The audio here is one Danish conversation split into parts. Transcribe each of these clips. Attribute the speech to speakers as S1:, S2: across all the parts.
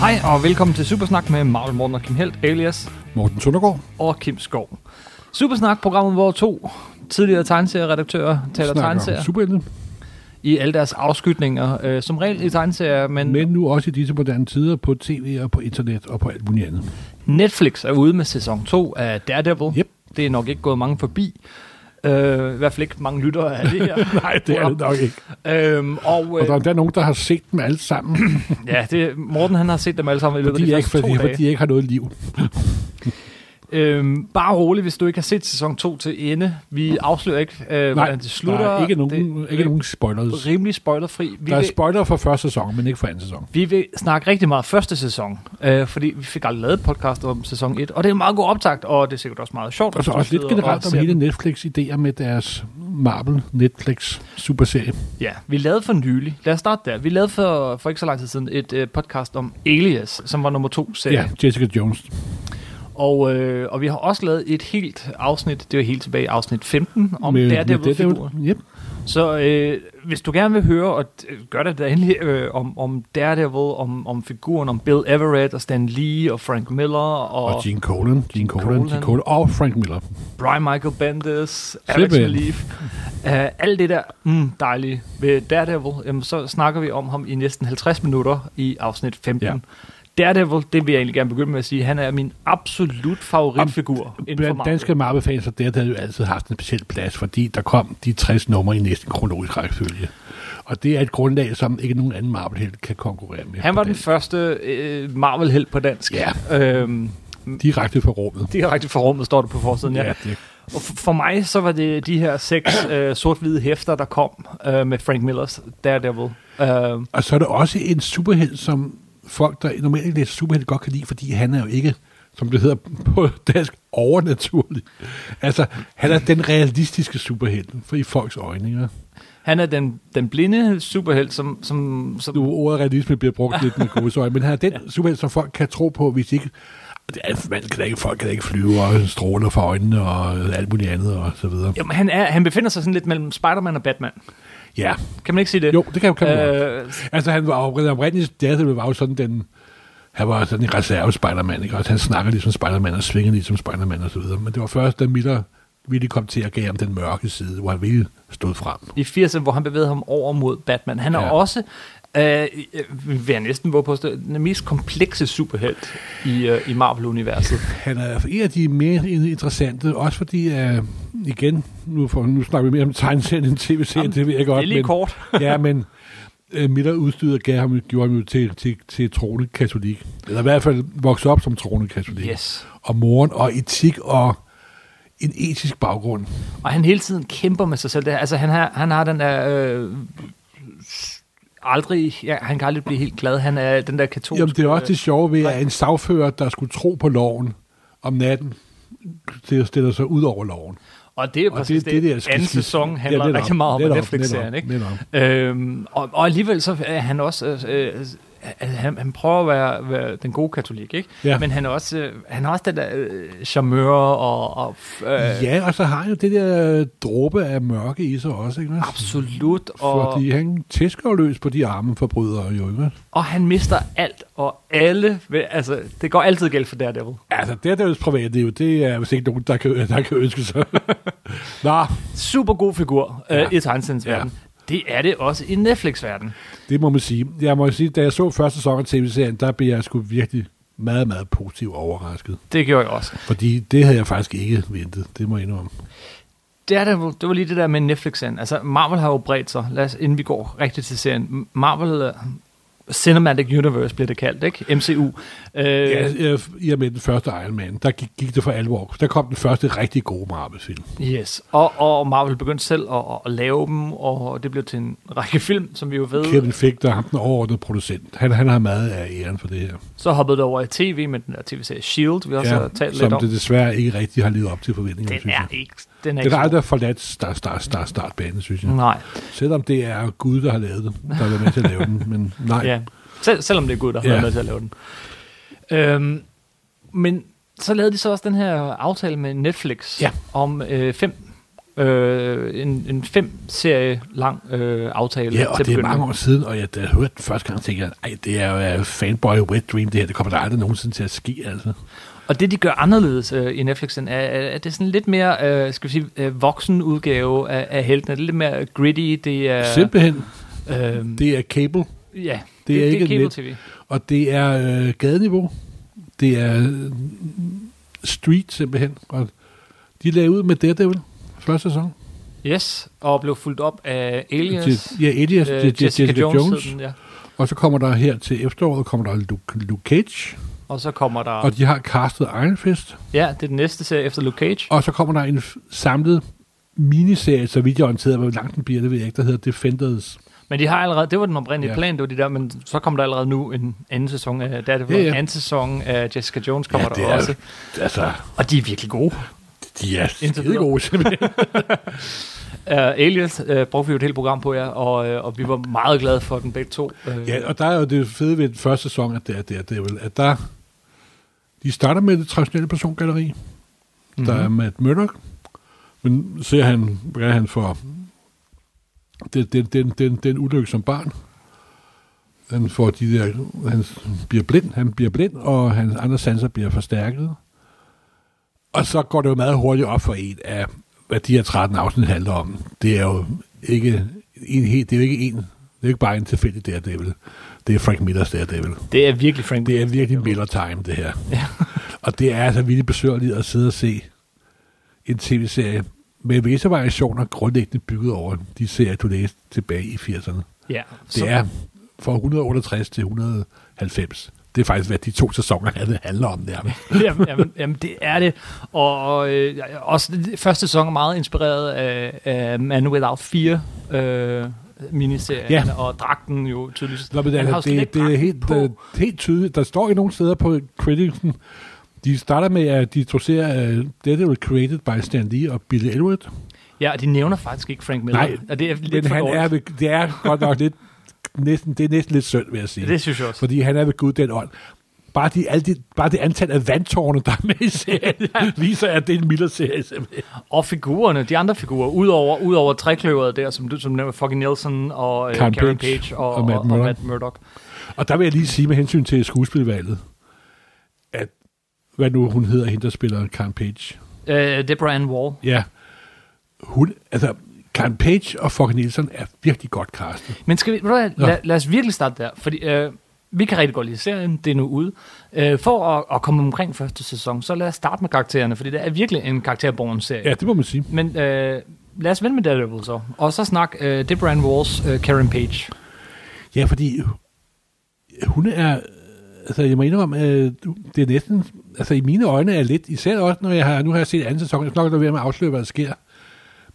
S1: Hej og velkommen til Supersnak med Marvel Morten og Kim Helt, alias
S2: Morten Søndergaard.
S1: og Kim Skov. Supersnak, programmet hvor to tidligere tegneserieredaktører taler
S2: snakker
S1: tegneserier
S2: om superhelte,
S1: i alle deres afskytninger, øh, som regel i tegneserier, men, men
S2: men nu også i disse moderne tider på tv og på internet og på alt muligt andet.
S1: Netflix er ude med sæson 2 af Daredevil.
S2: Yep.
S1: Det er nok ikke gået mange forbi. Øh, I hvert fald ikke mange lyttere af det her.
S2: Nej, det er det nok ikke.
S1: øhm, og,
S2: Og
S1: øh,
S2: der er endda nogen, der har set dem alle sammen,
S1: ja, det, Morten han har set dem alle sammen i løbet af
S2: fordi,
S1: de
S2: jeg ikke,
S1: første to
S2: fordi,
S1: dage.
S2: fordi jeg ikke har noget liv.
S1: Øhm, bare rolig, hvis du ikke har set sæson 2 til ende. Vi afslører ikke, øh,
S2: Nej,
S1: hvordan det slutter.
S2: der er ikke nogen,
S1: det,
S2: ikke nogen spoilers.
S1: er rimelig spoilerfri. Vi
S2: Der er
S1: vil,
S2: spoiler for første sæson, men ikke for anden sæson.
S1: vi vil snakke rigtig meget første sæson, øh, fordi vi fik aldrig lavet podcast om sæson 1, og det er en meget god optakt, og det er sikkert også meget sjovt.
S2: Altså, Og så
S1: hvis du
S2: også lidt
S1: sidder
S2: generelt
S1: og
S2: om
S1: ser
S2: hele
S1: den.
S2: Netflix' idéer med deres Marvel Netflix superserie.
S1: Ja, vi lavede for nylig, lad os starte der, vi lavede for, for ikke så lang tid siden et øh, podcast om Alias, som var nummer to serie.
S2: Ja, Jessica Jones.
S1: Og, øh, og vi har også lavet et helt afsnit, det var helt tilbage i afsnit 15, om
S2: Med- med
S1: Daredevil-figurer.
S2: Daredevil. Yep.
S1: Så øh, hvis du gerne vil høre, og øh, gør det da endelig, øh, om, om Daredevil, om, om figuren, om Bill Everett og Stan Lee og Frank Miller og,
S2: Og Gene Colan, Gene Colan,
S1: Colan.
S2: Gene Colan og Frank Miller.
S1: Brian Michael Bendis, Alex
S2: Simpelthen.
S1: Malief, øh, alt det der mm, dejlige ved Daredevil, jamen, så snakker vi om ham i næsten 50 minutter i afsnit 15. Ja.
S2: Ja.
S1: Daredevil, det vil jeg egentlig gerne begynde med at sige, han er min absolut favoritfigur inden for
S2: Blandt
S1: Marvel.
S2: danske Marvel-fans har Daredevil jo altid haft en speciel plads, fordi der kom de 60 numre i næsten kronologisk rækkefølge. Og det er et grundlag, som ikke nogen anden marvel kan konkurrere med.
S1: Han var
S2: på
S1: den
S2: dansk.
S1: første øh, Marvel-held på dansk.
S2: Ja.
S1: Øhm,
S2: Direkte fra rummet.
S1: direkte fra rummet står det på forsiden, ja.
S2: Ja, det,
S1: Og f- for mig så var det de her seks øh, sort-hvide hæfter, der kom øh, med Frank Millers Daredevil. Øh,
S2: og så er det også en superhelt, som folk, der normalt ikke læser superhelt, godt kan lide, fordi han er jo ikke, som det hedder på dansk, overnaturlig. Altså, han er den realistiske superhelt, for i folks øjne. Ikke?
S1: han er den, den blinde superhelt, som... som, som
S2: nu ordet realisme bliver brugt lidt med gode øjne, men her er den ja. superhelt, som folk kan tro på, hvis ikke... Det er, man kan da ikke, folk kan da ikke flyve og stråler fra øjnene og alt muligt andet og så videre.
S1: jamen, han, er, han befinder sig sådan lidt mellem Spider-Man og Batman.
S2: Ja.
S1: Kan man ikke sige det?
S2: Jo, det kan, kan man øh,
S1: øh,
S2: Altså, han var jo oprindeligt, Daredevil var jo sådan den... Han var sådan en reserve Spider-Man, ikke? Og han snakker ligesom Spider-Man og svinger ligesom Spider-Man og så videre. Men det var først, da Miller ville kom til at gav ham den mørke side, hvor han ville stod frem.
S1: I 80'erne, hvor han bevægede ham over mod Batman. Han er ja.
S2: Ja.
S1: også... Øh, øh, vil jeg næsten våge på at stå, den mest komplekse superhelt i, øh, i Marvel-universet.
S2: Han er en af de mere interessante, også fordi, uh, igen, nu, for, nu snakker vi mere om tegneserien end tv-serien, det ved jeg
S1: Det er
S2: godt.
S1: lige
S2: Men,
S1: kort.
S2: ja, men uh, Miller udstyret gav ham, gjorde ham jo til, til, til troende katolik. Eller i hvert fald voksede op som troende katolik.
S1: Yes.
S2: Og moren og etik og en etisk baggrund.
S1: Og han hele tiden kæmper med sig selv. Det, er- altså, han har, han har den der... Øh, aldrig... Ja, han kan aldrig blive helt glad. Han er den der katolske...
S2: Jamen, det er også det sjove ved,
S1: nej.
S2: at en sagfører, der skulle tro på loven om natten, det stiller sig ud over loven.
S1: og det er jo
S2: Og
S1: præcis det, det,
S2: der
S1: det
S2: skal
S1: anden
S2: skifte.
S1: sæson
S2: Ja,
S1: handler
S2: netop,
S1: rigtig meget om
S2: netop,
S1: Netflix-serien,
S2: netop,
S1: ikke?
S2: netop.
S1: Øhm, og, og alligevel så er han også... Øh, øh, han, han prøver at være, være den gode katolik, ikke?
S2: Ja.
S1: Men han er også, øh, han har også den der øh, charmeur og... og øh,
S2: Ja, og så har han jo det der dråbe af mørke i sig også, ikke? vel?
S1: Absolut. Og,
S2: Fordi han tæsker jo løs på de arme forbrydere, jo ikke? vel?
S1: og han mister alt og alle. ved- Altså, det går altid galt for Daredevil.
S2: Altså, det der privatliv, det er vist ikke nogen, der kan, der kan ønske sig. Nå,
S1: super god figur ja.
S2: Ja.
S1: øh, i tegneseriens
S2: Ja.
S1: verden. Det er det også i Netflix-verden.
S2: det må man sige. Jeg må sige, da jeg så første sæson af tv-serien, der blev jeg sgu virkelig meget, meget positivt overrasket.
S1: Det gjorde jeg også.
S2: Fordi det havde jeg faktisk ikke ventet, det må jeg indrømme.
S1: Det, er det, det var lige det der med Netflix-serien. Altså, Marvel har jo bredt sig. Lad os, inden vi går rigtigt til serien. Marvel øh, Cinematic Universe bliver det kaldt, ikke? MCU. Øh,
S2: Ja, øh, i og med den første Iron Man, der gik, gik det for alvor. Der kom den første rigtig gode Marvel-film.
S1: Yes. Og, og Marvel begyndte selv at, at lave dem, og det blev til en række film, som vi jo ved.
S2: Kevin Feige, der er ham den overordnede producent, han, han har meget af æren for det her.
S1: Så hoppede det over i tv med den der tv-serie S.H.I.E.L.D., vi også har talt
S2: som
S1: lidt om.
S2: det desværre ikke rigtig har levet op til forventningerne,
S1: Den
S2: synes
S1: er
S2: jeg.
S1: ikke... Den er
S2: Den
S1: ikke
S2: har
S1: så-
S2: aldrig forladt start, start, start, startbanen, synes jeg.
S1: Nej.
S2: Selvom det er Gud, der har lavet den, der har været med til at lave den, men nej.
S1: Ja. Sel- selvom det er Gud, der har
S2: Ja.
S1: været med til at lave den. Øhm, men så lavede de så også den her aftale med Netflix
S2: Ja.
S1: om øh, fem øh, en, en fem-serie lang øh, aftale.
S2: Ja, og
S1: til
S2: det er
S1: begyndelsen.
S2: mange år siden, og jeg, da jeg hørte den første gang, tænkte jeg, ej, det er jo øh, fanboy wet dream, det her, det kommer der aldrig nogensinde til at ske, altså.
S1: Og det, de gør anderledes øh, i Netflixen, er, er, at det er sådan lidt mere, øh, skal vi sige, øh, voksen udgave af, af heltene. Det er lidt mere gritty, det er...
S2: Ja. Simpelthen,
S1: Øh, det,
S2: det er cable,
S1: ja, det,
S2: er ikke
S1: det er
S2: net.
S1: cable-tv.
S2: og det er øh, gadeniveau, det er øh, street simpelthen, og de lagde ud med Daredevil, første sæson.
S1: Yes, og blev fulgt op af Alias.
S2: Til- Ja, Elias,
S1: øh,
S2: øh, Jessica, Jessica Jones, Jones.
S1: hed den, ja.
S2: og så kommer der her til efteråret, kommer der Luke, Luke Cage,
S1: Og så kommer der...
S2: og de har castet Iron Fist,
S1: ja, det er den næste serie efter Luke Cage.
S2: Og så kommer der en f- samlet miniserie, så vidt jeg er orienteret, hvor langt den bliver, det ved jeg ikke, der hedder Defenders.
S1: Men de har allerede, det var den oprindelige ja.
S2: Ja.
S1: plan, det var de der, men så kom der allerede nu en anden sæson af Daredevil, ja,
S2: Ja,
S1: ja.
S2: ja.
S1: en anden sæson af Jessica Jones kommer
S2: Ja,
S1: ja,
S2: det
S1: der også.
S2: er- Altså,
S1: Og de er virkelig gode.
S2: de er
S1: Indtil
S2: skide gode, simpelthen.
S1: Uh, Alias uh, brugte vi jo et helt program på jer, og, uh, og vi var meget glade for den begge to. Uh,
S2: ja, og der er jo det fede ved den første sæson, at det er, det er, det er vel, at der... De starter med det traditionelle persongalleri. Mm-hmm. Der er Matt Murdock. Men ser han, hvad er han for den, den, den, den, den ulykke som barn. Han får de der, han bliver blind, han bliver blind, og hans andre sanser bliver forstærket. Og så går det jo meget hurtigt op for en af, hvad de her 13 afsnit handler om. Det er jo ikke en helt, det er jo ikke en, det er jo ikke bare en tilfældig Daredevil. Det er Frank Millers Daredevil.
S1: Det er virkelig Frank.
S2: Det er virkelig Miller time, det her.
S1: Ja.
S2: og det er altså virkelig besøgerligt at sidde og se en tv-serie med visse variationer grundlæggende bygget over de serier, du læste tilbage i 80'erne.
S1: ja.
S2: Det er fra 168 til 190. Det er faktisk, hvad de to sæsoner havde handler om nærmest.
S1: jamen, jamen, jamen, det er det. Og, og øh, ja, også det- det første sæson er meget inspireret af, af Man Without Fear, øh, miniserien,
S2: Ja.
S1: og dragten jo tydeligvis.
S2: Nå, men
S1: Han har jo
S2: altså,
S1: slet ikke
S2: det, det er
S1: dragten
S2: helt,
S1: på.
S2: øh, helt tydeligt. Der står i nogle steder på creditsen, de starter med at introducere, uh, dette var created by Stan Lee og Billy Elwood.
S1: Ja, og de nævner faktisk ikke Frank Miller.
S2: Nej,
S1: og det er lidt
S2: Men
S1: for
S2: han
S1: dårligt.
S2: er, ved, det er godt nok lidt, næsten, det er næsten lidt synd, vil jeg sige.
S1: Det synes jeg også.
S2: Fordi han er ved Gud den ånd. Bare, de, alle de, bare det antal af vandtårne, der er med i serien, viser, at det er en mildere serie. simpelthen.
S1: Og figurerne, de andre figurer, udover, udover trekløveret der, som du som nævner, fucking Nielsen og øh, Karen
S2: Karen
S1: Page,
S2: Page
S1: og,
S2: og Matt
S1: og, og
S2: Murdock.
S1: Matt Murdock.
S2: Og der vil jeg lige sige med hensyn til skuespilvalget, at hvad nu hun hedder, hende der spiller Karen Page.
S1: Øh, det er Brian Wall.
S2: Ja. Hun, altså, Karen Page og Fogg Nielsen er virkelig godt castet.
S1: Men skal vi, ved du hvad,
S2: Nå.
S1: lad, lad os virkelig starte der, fordi øh, vi kan rigtig godt lide serien, det er nu ude. Øh, for at, at komme omkring første sæson, så lad os starte med karaktererne, fordi det er virkelig en karakterborgen serie.
S2: Ja, det må man sige.
S1: Men øh, lad os vende med Daredevil så, og så snak øh, det er Brian Walls øh, Karen Page.
S2: Ja, fordi hun er, altså jeg må indrømme, øh, det er næsten, altså i mine øjne er lidt, især også når jeg har, nu har jeg set anden sæson, jeg skal nok lade være med at afsløre, hvad der sker.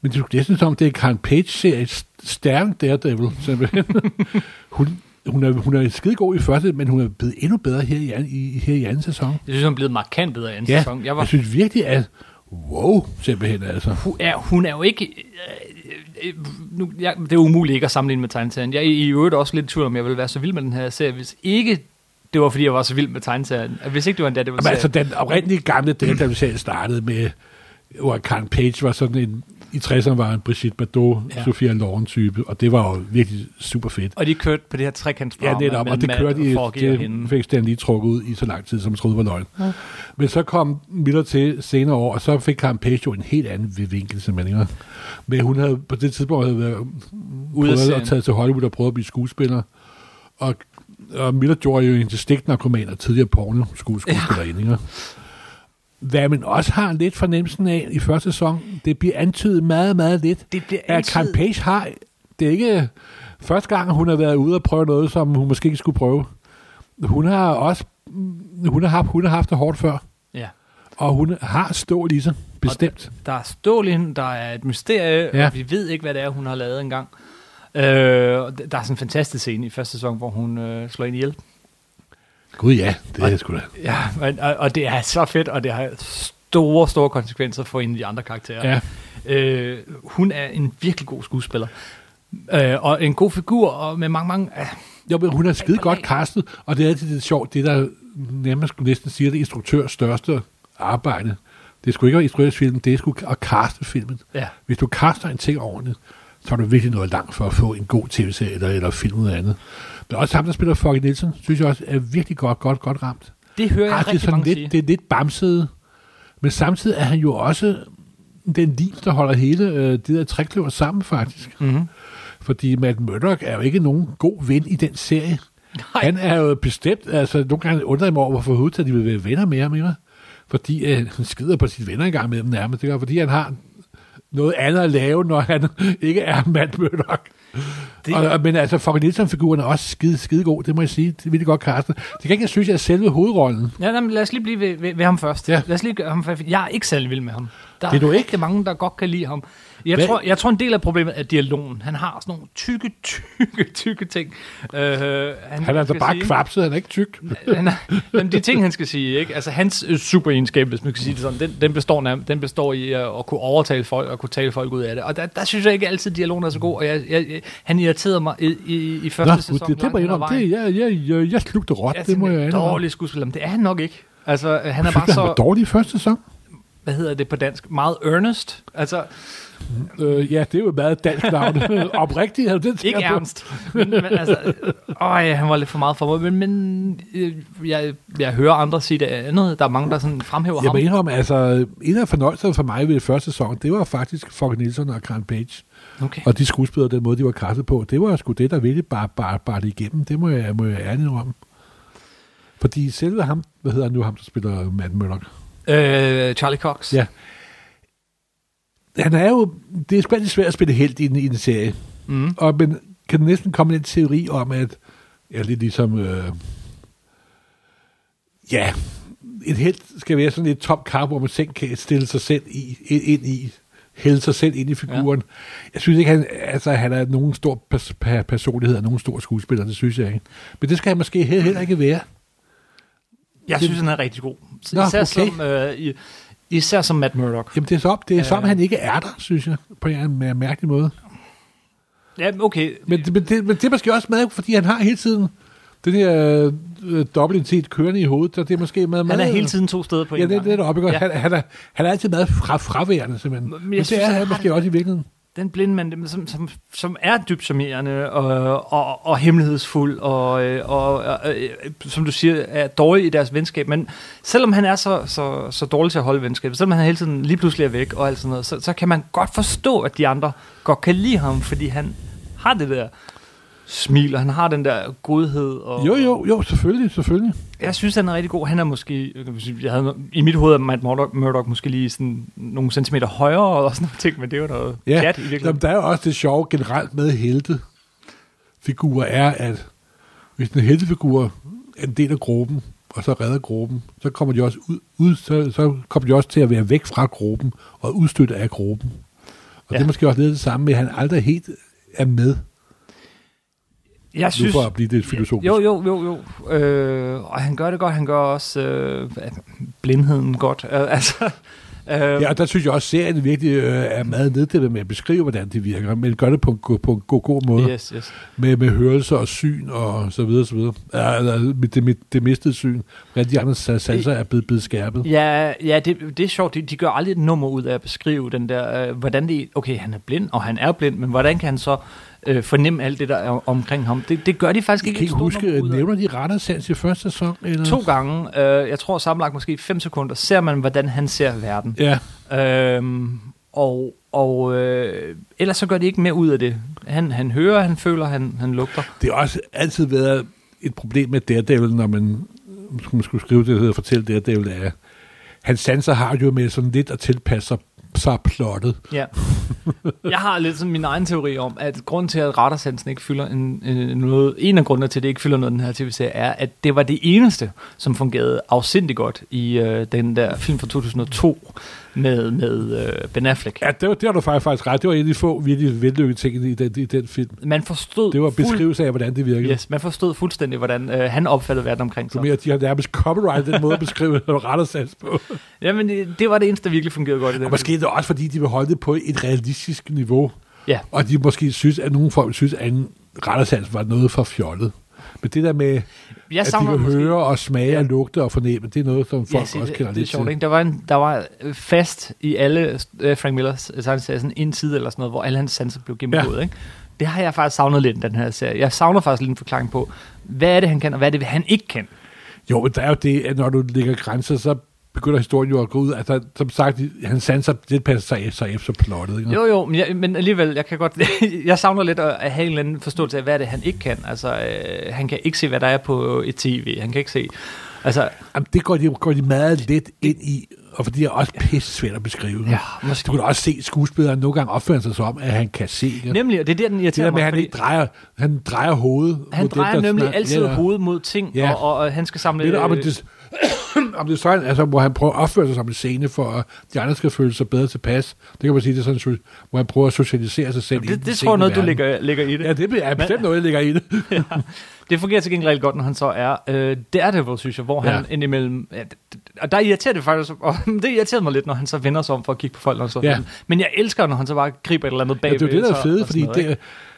S2: Men det er jo næsten som, om, det er Karen Page-serie, Stern Daredevil, simpelthen. hun, hun er, hun er skidegod i første, men hun er blevet endnu bedre her i, an- i, her i anden sæson.
S1: Jeg synes, hun er blevet markant bedre i anden
S2: Ja,
S1: sæson. Jeg
S2: jeg
S1: var
S2: synes virkelig, at wow, simpelthen altså.
S1: Hun er, hun er jo ikke... øh, øh, Nu, jeg, det er umuligt ikke at sammenligne med tegneserien. Jeg er i øvrigt også lidt i tvivl om, jeg ville være så vild med den her serie, hvis ikke det var, fordi jeg var så vild med tegneserien. Hvis ikke det var en der, det var
S2: Men altså, den oprindelige gamle Delta-serie startede med, hvor Karen Page var sådan en, i 60'erne var en Brigitte Bardot,
S1: Ja.
S2: ja. Sofia Loren type, og det var jo virkelig super fedt.
S1: Og de kørte på det her trekantsprogram.
S2: Ja, netop, og det kørte i, det fik Stan lige trukket ud i så lang tid, som jeg troede var løgn. Ja. Men så kom Miller til senere år, og så fik Karen Page jo en helt anden vinkel, som man ikke Men hun havde på det tidspunkt havde været
S1: Ude af
S2: prøvet
S1: serien.
S2: at tage til Hollywood og prøvet at blive skuespiller. Og, og Miller gjorde jo en til stiknarkoman og tidligere porno skuespillerinde. Ja. Hvad man også har lidt fornemmelsen af i første sæson, det bliver antydet meget, meget lidt,
S1: Det bliver
S2: at Karen Page har... Det er ikke første gang, hun har været ude og prøve noget, som hun måske ikke skulle prøve. Hun har også... Hun har, haft, hun har haft det hårdt før,
S1: Ja.
S2: og hun har stået i sig, bestemt.
S1: Der er stål i hende, der er et mysterie, ja.
S2: Ja.
S1: og vi ved ikke, hvad det er, hun har lavet engang. Øh, og d- der er sådan en fantastisk scene i første sæson, hvor hun øh, slår en ihjel.
S2: Gud ja, det er sgu da.
S1: Ja, og, og, og det er så fedt, og det har store, store konsekvenser for en af de andre karakterer.
S2: Ja.
S1: Øh, hun er en virkelig god skuespiller. Øh, og en god figur, og med mange, mange... Øh,
S2: Jo, men hun er skide godt
S1: nej.
S2: castet, og det er altid lidt sjovt, det der nærmest skulle næsten sige, det er instruktørs største arbejde, Det skulle ikke være instrueringsfilm, det skulle at kaste filmen.
S1: Ja.
S2: Hvis du kaster en ting ordentligt, så er du virkelig noget langt for at få en god tv-serie eller, eller film ud af andet. Men også ham, der spiller Foggy Nielsen, synes jeg også er virkelig godt, godt, godt ramt.
S1: Det hører jeg
S2: Ah, det er
S1: rigtig
S2: sådan
S1: mange
S2: lidt,
S1: sige.
S2: det er lidt bamset, men samtidig er han jo også den lim, der holder hele øh, det der trækløver sammen, faktisk.
S1: Mm-hmm.
S2: Fordi Matt Murdock er jo ikke nogen god ven i den serie.
S1: Nej.
S2: Han er jo bestemt, altså nogle gange undrer jeg mig over, hvorfor hovedet at de vil være venner mere og mere. Fordi øh, han skider på sine venner engang med dem nærmest. Det er fordi, han har noget andet at lave, når han ikke er Matt Murdock.
S1: Det-
S2: Det... Og, og- men altså, Fogg Nielsen-figuren er også skide, skide god, det må jeg sige. Det vil jeg godt kaste. Det kan ikke, jeg synes, at selve hovedrollen,
S1: Ja, nej, men lad os lige blive ved, ved, ved ham først. Ja.
S2: Ja.
S1: Lad os lige gøre ham færdig. Jeg er ikke særlig vild med ham. Der
S2: Det er du ikke?
S1: rigtig mange, der godt kan lide ham. Jeg
S2: Hvad?
S1: tror, jeg tror, en del af problemet er dialogen. Han har sådan nogle tykke, tykke, tykke ting. Øh, han,
S2: han er altså
S1: skal
S2: bare
S1: sige.
S2: kvapset, han er ikke tyk.
S1: Øh, Han er- Jamen, de ting, han skal sige, ikke? Altså, hans øh, superegenskab, hvis man kan sige det sådan, den, den, består, nærm- den består i at, at kunne overtale folk og kunne tale folk ud af det. Og der, der synes jeg ikke altid, at dialogen er så god. Og jeg, jeg, jeg, han irriterede mig i, i, i
S2: Nå,
S1: første sæson.
S2: det, det
S1: langt
S2: må jeg
S1: hen ad
S2: indrømme.
S1: vejen.
S2: Det, jeg, jeg, jeg, jeg slugte råt,
S1: Jeg er
S2: det må
S1: sådan
S2: jeg
S1: en
S2: indrømme.
S1: dårlig skuespiller, men det er han nok ikke. Altså, øh, han er
S2: Synes
S1: bare
S2: du,
S1: så...
S2: Han var dårlig i første sæson.
S1: hvad hedder det på dansk, meget earnest. Altså,
S2: Øh, ja, det er jo et meget dansk navn. Oprigtigt, havde det
S1: ikke
S2: tænker på.
S1: ernst. Men, men altså, åh, ja, han var lidt for meget for mig. Men, men øh, jeg, jeg hører andre sige det andet. Der er mange, der sådan fremhæver
S2: Jeg må
S1: ham.
S2: indrømme, altså, en af fornøjelserne for mig ved første sæson, det var faktisk Fogg Nielsen og Karen Page.
S1: Okay.
S2: Og de skuespillere, den måde, de var kastet på, det var sgu det, der ville bare, bare, bare det igennem. Det må jeg, må jeg ærligt indrømme. Fordi selve ham, hvad hedder han nu, ham der spiller Matt Murdock?
S1: Øh, Charlie Cox.
S2: Ja. Han er jo, det er sgu altid svært at spille helt i en, i en serie.
S1: Mm.
S2: Og men kan der næsten komme en teori om, at ja, lidt ligesom, øh, ja, et helt skal være sådan et top kar, hvor man selv kan stille sig selv i, ind, ind i, hælde sig selv ind i figuren. Ja. Jeg synes ikke, han, altså, han er nogen stor pers- per- personlighed og nogen stor skuespiller, det synes jeg ikke. Men det skal han måske he- heller ikke være.
S1: Jeg
S2: Det-
S1: synes, han er rigtig god.
S2: Nå,
S1: Især,
S2: okay.
S1: som, øh, i- især som Matt Murdock.
S2: Jamen, det er som, det er som
S1: Ja.
S2: han ikke er der, synes jeg, på en eller anden mær- mærkelig måde.
S1: Ja, okay.
S2: Men, det- men, det, men det er måske også meget, fordi han har hele tiden den her øh, dobbeltitet kørende i hovedet, så det er måske meget...
S1: Han er
S2: meget-
S1: hele tiden to steder på en
S2: Ja, det,
S1: gang.
S2: det er deroppe,
S1: Ja.
S2: ja. han, han, er, han er altid meget fra, fraværende, simpelthen.
S1: Men
S2: Men,
S1: jeg
S2: men det
S1: synes,
S2: er
S1: han
S2: han
S1: har
S2: måske også i virkeligheden.
S1: Den blinde mand, dem, som, som, som er dybt charmerende og, og, og hemmelighedsfuld, og, øh, og, og øh, som du siger, er dårlig i deres venskab. Men selvom han er så, så, så dårlig til at holde venskab, selvom han hele tiden lige pludselig er væk og alt sådan noget, så, så kan man godt forstå, at de andre godt kan lide ham, fordi han har det der smil, og han har den der godhed. Og,
S2: Jo, jo, jo, selvfølgelig, selvfølgelig.
S1: Jeg synes, han er rigtig god. Han er måske, jeg kan sige, jeg havde, i mit hoved er Matt Murdock, Murdock måske lige sådan nogle centimeter højere og sådan nogle ting, men det var noget ja, pjat i virkeligheden.
S2: Jamen, der er jo også det sjove generelt med helte figurer er, at hvis en heltefigur er en del af gruppen, og så redder gruppen, så kommer de også ud, ud så, så kommer de også til at være væk fra gruppen og udstødt af gruppen. Og ja. det
S1: Ja.
S2: er måske også lidt det samme med, at han aldrig helt er med,
S1: Jeg
S2: nu
S1: synes,
S2: for at blive lidt filosofisk.
S1: Jo, jo, jo, jo. Øh, og han gør det godt. Han gør også øh, blindheden godt. Øh, altså, øh,
S2: Ja,
S1: ja.
S2: og der synes jeg også, at serien virkelig øh, er meget neddæmpet med at beskrive, hvordan det virker, men gør det på en, go- på en god, god måde,
S1: Yes, yes.
S2: med, med hørelse og syn og så videre, så videre. Ja, eller med det, med det mistede syn, hvordan de andre sa- sanser er blevet, blevet skærpet.
S1: Ja, ja det, det er sjovt. De, de gør aldrig et nummer ud af at beskrive den der, øh, hvordan det Okay, han er blind, og han er blind, men hvordan kan han så øh, fornemme alt det, der er omkring ham? Det, det gør de faktisk
S2: Jeg
S1: ikke.
S2: kan
S1: et
S2: ikke
S1: stort nummer
S2: huske, øh,
S1: ud af.
S2: nævner de rettersans i første sæson? Eller?
S1: To gange, øh, jeg tror sammenlagt måske 5 sekunder, ser man, hvordan han ser verden.
S2: Ja,
S1: Øhm, og og øh, ellers så gør de ikke mere ud af det. Han, han hører, han føler, han, han lugter.
S2: det har også altid været et problem med Daredevil, når man, man skulle skrive det, der og fortælle Daredevil, er, hans sanser har jo med sådan lidt at tilpasse sig, sig plottet.
S1: Ja. Jeg har lidt sådan min egen teori om, at grunden til, at radarsansen ikke fylder en, en, noget, en af grundene til, at det ikke fylder noget i den her tv-serie, er, at det var det eneste, som fungerede afsindig godt i øh, den der film fra 2002 med, med øh, Ben Affleck.
S2: Ja, det, var, det har du faktisk faktisk ret. Det var en af de få virkelig vellykkede ting i den, i den film.
S1: Man forstod,
S2: Det var
S1: fuld-
S2: beskrivelse af, hvordan det virkede. Yes.
S1: yes, man forstod fuldstændig, hvordan øh, han opfattede verden omkring sig.
S2: Mere, at de har nærmest copyright den måde at beskrive rettersats på.
S1: Jamen, det, det var det eneste, der virkelig fungerede godt i den
S2: Og måske er det også, fordi de vil holde det på et realistisk niveau.
S1: Ja.
S2: Og de måske synes, at nogle folk synes, at en rettersats var noget for fjollet. Men det der med,
S1: Jeg
S2: at de
S1: savner
S2: kan
S1: måske-
S2: høre og smage og lugte og fornemme, det er noget, som folk
S1: se,
S2: også
S1: det,
S2: kender
S1: det, er
S2: lidt
S1: sjovt,
S2: til.
S1: ikke? Der var, en, der var øh, fast i alle øh, Frank Millers øh, tegneserier, sådan en side eller sådan noget, hvor alle hans sanser blev gennemgået, ja. ikke? Det har jeg faktisk savnet lidt i den her serie. Jeg savner faktisk lidt en forklaring på, hvad er det, han kan, og hvad er det, han ikke kan.
S2: Jo, men der er jo det, at når du lægger grænser, så begynder historien jo at gå ud. Altså, som sagt, han sanser, det passer sig efter, efter plottet. Ikke?
S1: Jo, jo, men, jeg, men alligevel, jeg kan godt... jeg savner lidt at, at have en eller anden forståelse af, hvad er det, han ikke kan. Altså, øh, han kan ikke se, hvad der er på øh, et tv. Han kan ikke se... Altså,
S2: Jamen, det går de, går de meget let ind i, og fordi det er også pisse svært at beskrive.
S1: Ja, måske.
S2: måske. Du kan da også se skuespilleren nogle gange opføre sig som, at han kan se. Ikke?
S1: nemlig, og det er der, den
S2: det
S1: irriterer
S2: der med, at
S1: mig,
S2: han
S1: fordi
S2: ikke drejer, han drejer hovedet.
S1: han
S2: mod dem,
S1: drejer
S2: der
S1: nemlig
S2: snakker.
S1: altid
S2: Ja, ja.
S1: hovedet mod ting,
S2: Ja.
S1: og, og, og, han skal samle...
S2: Lidt om, at
S1: øh,
S2: det, om det er sådan, altså, hvor han prøver at opføre sig som en scene, for at de andre skal føle sig bedre tilpas. Det kan man sige, det er sådan, so- hvor han prøver at socialisere sig selv. i
S1: det,
S2: den
S1: det tror jeg noget, du
S2: scene-
S1: lægger, lægger i det.
S2: Ja, det er bestemt noget, jeg lægger i det.
S1: Det fungerer til gengæld rigtig godt, når han så er øh, Daredevil, synes jeg, hvor ja.
S2: Ja.
S1: han indimellem... Ja, d- d- og der irriterer det faktisk, og det irriterede mig lidt, når han så vender sig om for at kigge på folk. Og så.
S2: Ja.
S1: Men jeg elsker, når han så bare griber et eller andet
S2: Ja,
S1: bag.
S2: det er jo det, der er fedt, fordi
S1: Noget, ikke?
S2: det,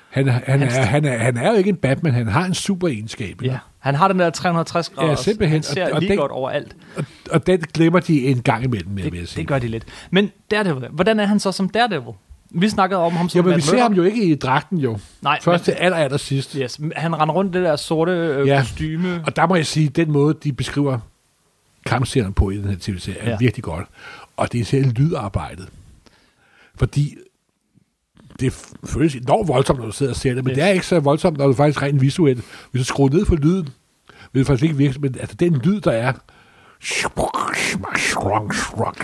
S2: han, han,
S1: Hans-
S2: er, han, er, han er jo ikke en Batman, han har en super egenskab.
S1: ja. Han har den der 360 grader,
S2: Ja, simpelthen.
S1: Han ser
S2: Og-
S1: og
S2: og
S1: lige
S2: det-
S1: godt overalt.
S2: Og, og den glemmer de en gang imellem, vil jeg
S1: Det,
S2: sige.
S1: det gør de lidt. Men Daredevil, hvordan er han så som Daredevil? Vi snakkede om ham som
S2: Ja, men vi
S1: Matt
S2: ser
S1: Murdock.
S2: ham jo ikke i dragten, jo.
S1: Nej,
S2: Først
S1: men-
S2: til aller, aller sidst.
S1: Yes, han render rundt i det der sorte øh, ja.
S2: Ja.
S1: kostyme.
S2: Og der må jeg sige, den måde, de beskriver kampserien på i den her tv-serie, er
S1: Ja.
S2: ja. virkelig godt. Og det er især lydarbejdet. Fordi det f- føles enormt voldsomt, når du sidder og ser det, men
S1: Yes.
S2: yes. det er ikke så voldsomt, når du faktisk rent visuelt, hvis du skruer ned for lyden, vil det faktisk ikke virke, men altså den lyd, der er,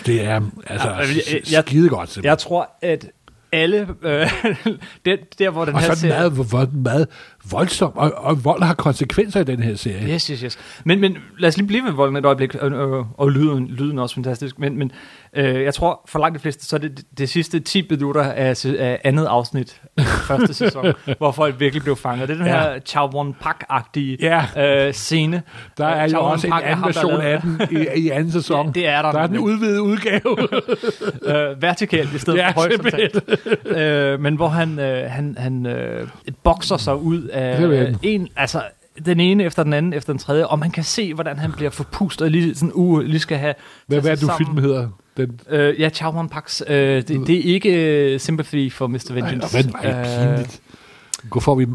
S2: det er altså
S1: Ja, jeg-
S2: ja,
S1: jeg-
S2: skide godt simpelthen.
S1: Jeg tror, at alle... Øh, den, der, hvor den
S2: Og
S1: her
S2: så er den
S1: serie-
S2: meget, vo- vo- meget voldsom, og, og vold har konsekvenser i den her serie.
S1: Yes, yes, yes. Men, men lad os lige blive ved volden et øjeblik, og, og, og lyden, lyden er også fantastisk. Men, men øh, jeg tror, for langt de fleste, så er det det sidste 10 minutter af, se- af andet afsnit af første sæson, hvor folk virkelig blev fanget. Det er den
S2: Ja.
S1: her Chow Won Pak-agtige
S2: Ja.
S1: øh, scene.
S2: Der er
S1: Øh,
S2: jo
S1: Chow
S2: også en
S1: Yun-pak er
S2: anden
S1: ham, der
S2: version
S1: lavede-
S2: af den i, i anden sæson.
S1: Ja, det er der
S2: Der er den
S1: nemlig.
S2: udvidede udgave.
S1: øh, vertikalt i stedet
S2: Ja,
S1: for horisontalt. øh, men hvor han, øh, han, han øh, bokser sig ud af øh,
S2: Simpelthen.
S1: en, altså den ene efter den anden efter den tredje, og man kan se, hvordan han bliver forpustet og lige, sådan, uh, lige skal have
S2: Hvad, hvad er det, du
S1: sammen.
S2: film hedder? Den,
S1: Øh, ja, Chow Man Pax. Øh, det, det er ikke uh, Sympathy for Mr.
S2: ej,
S1: Vengeance.
S2: hvad er
S1: Øh,
S2: det pinligt. Hvor får vi...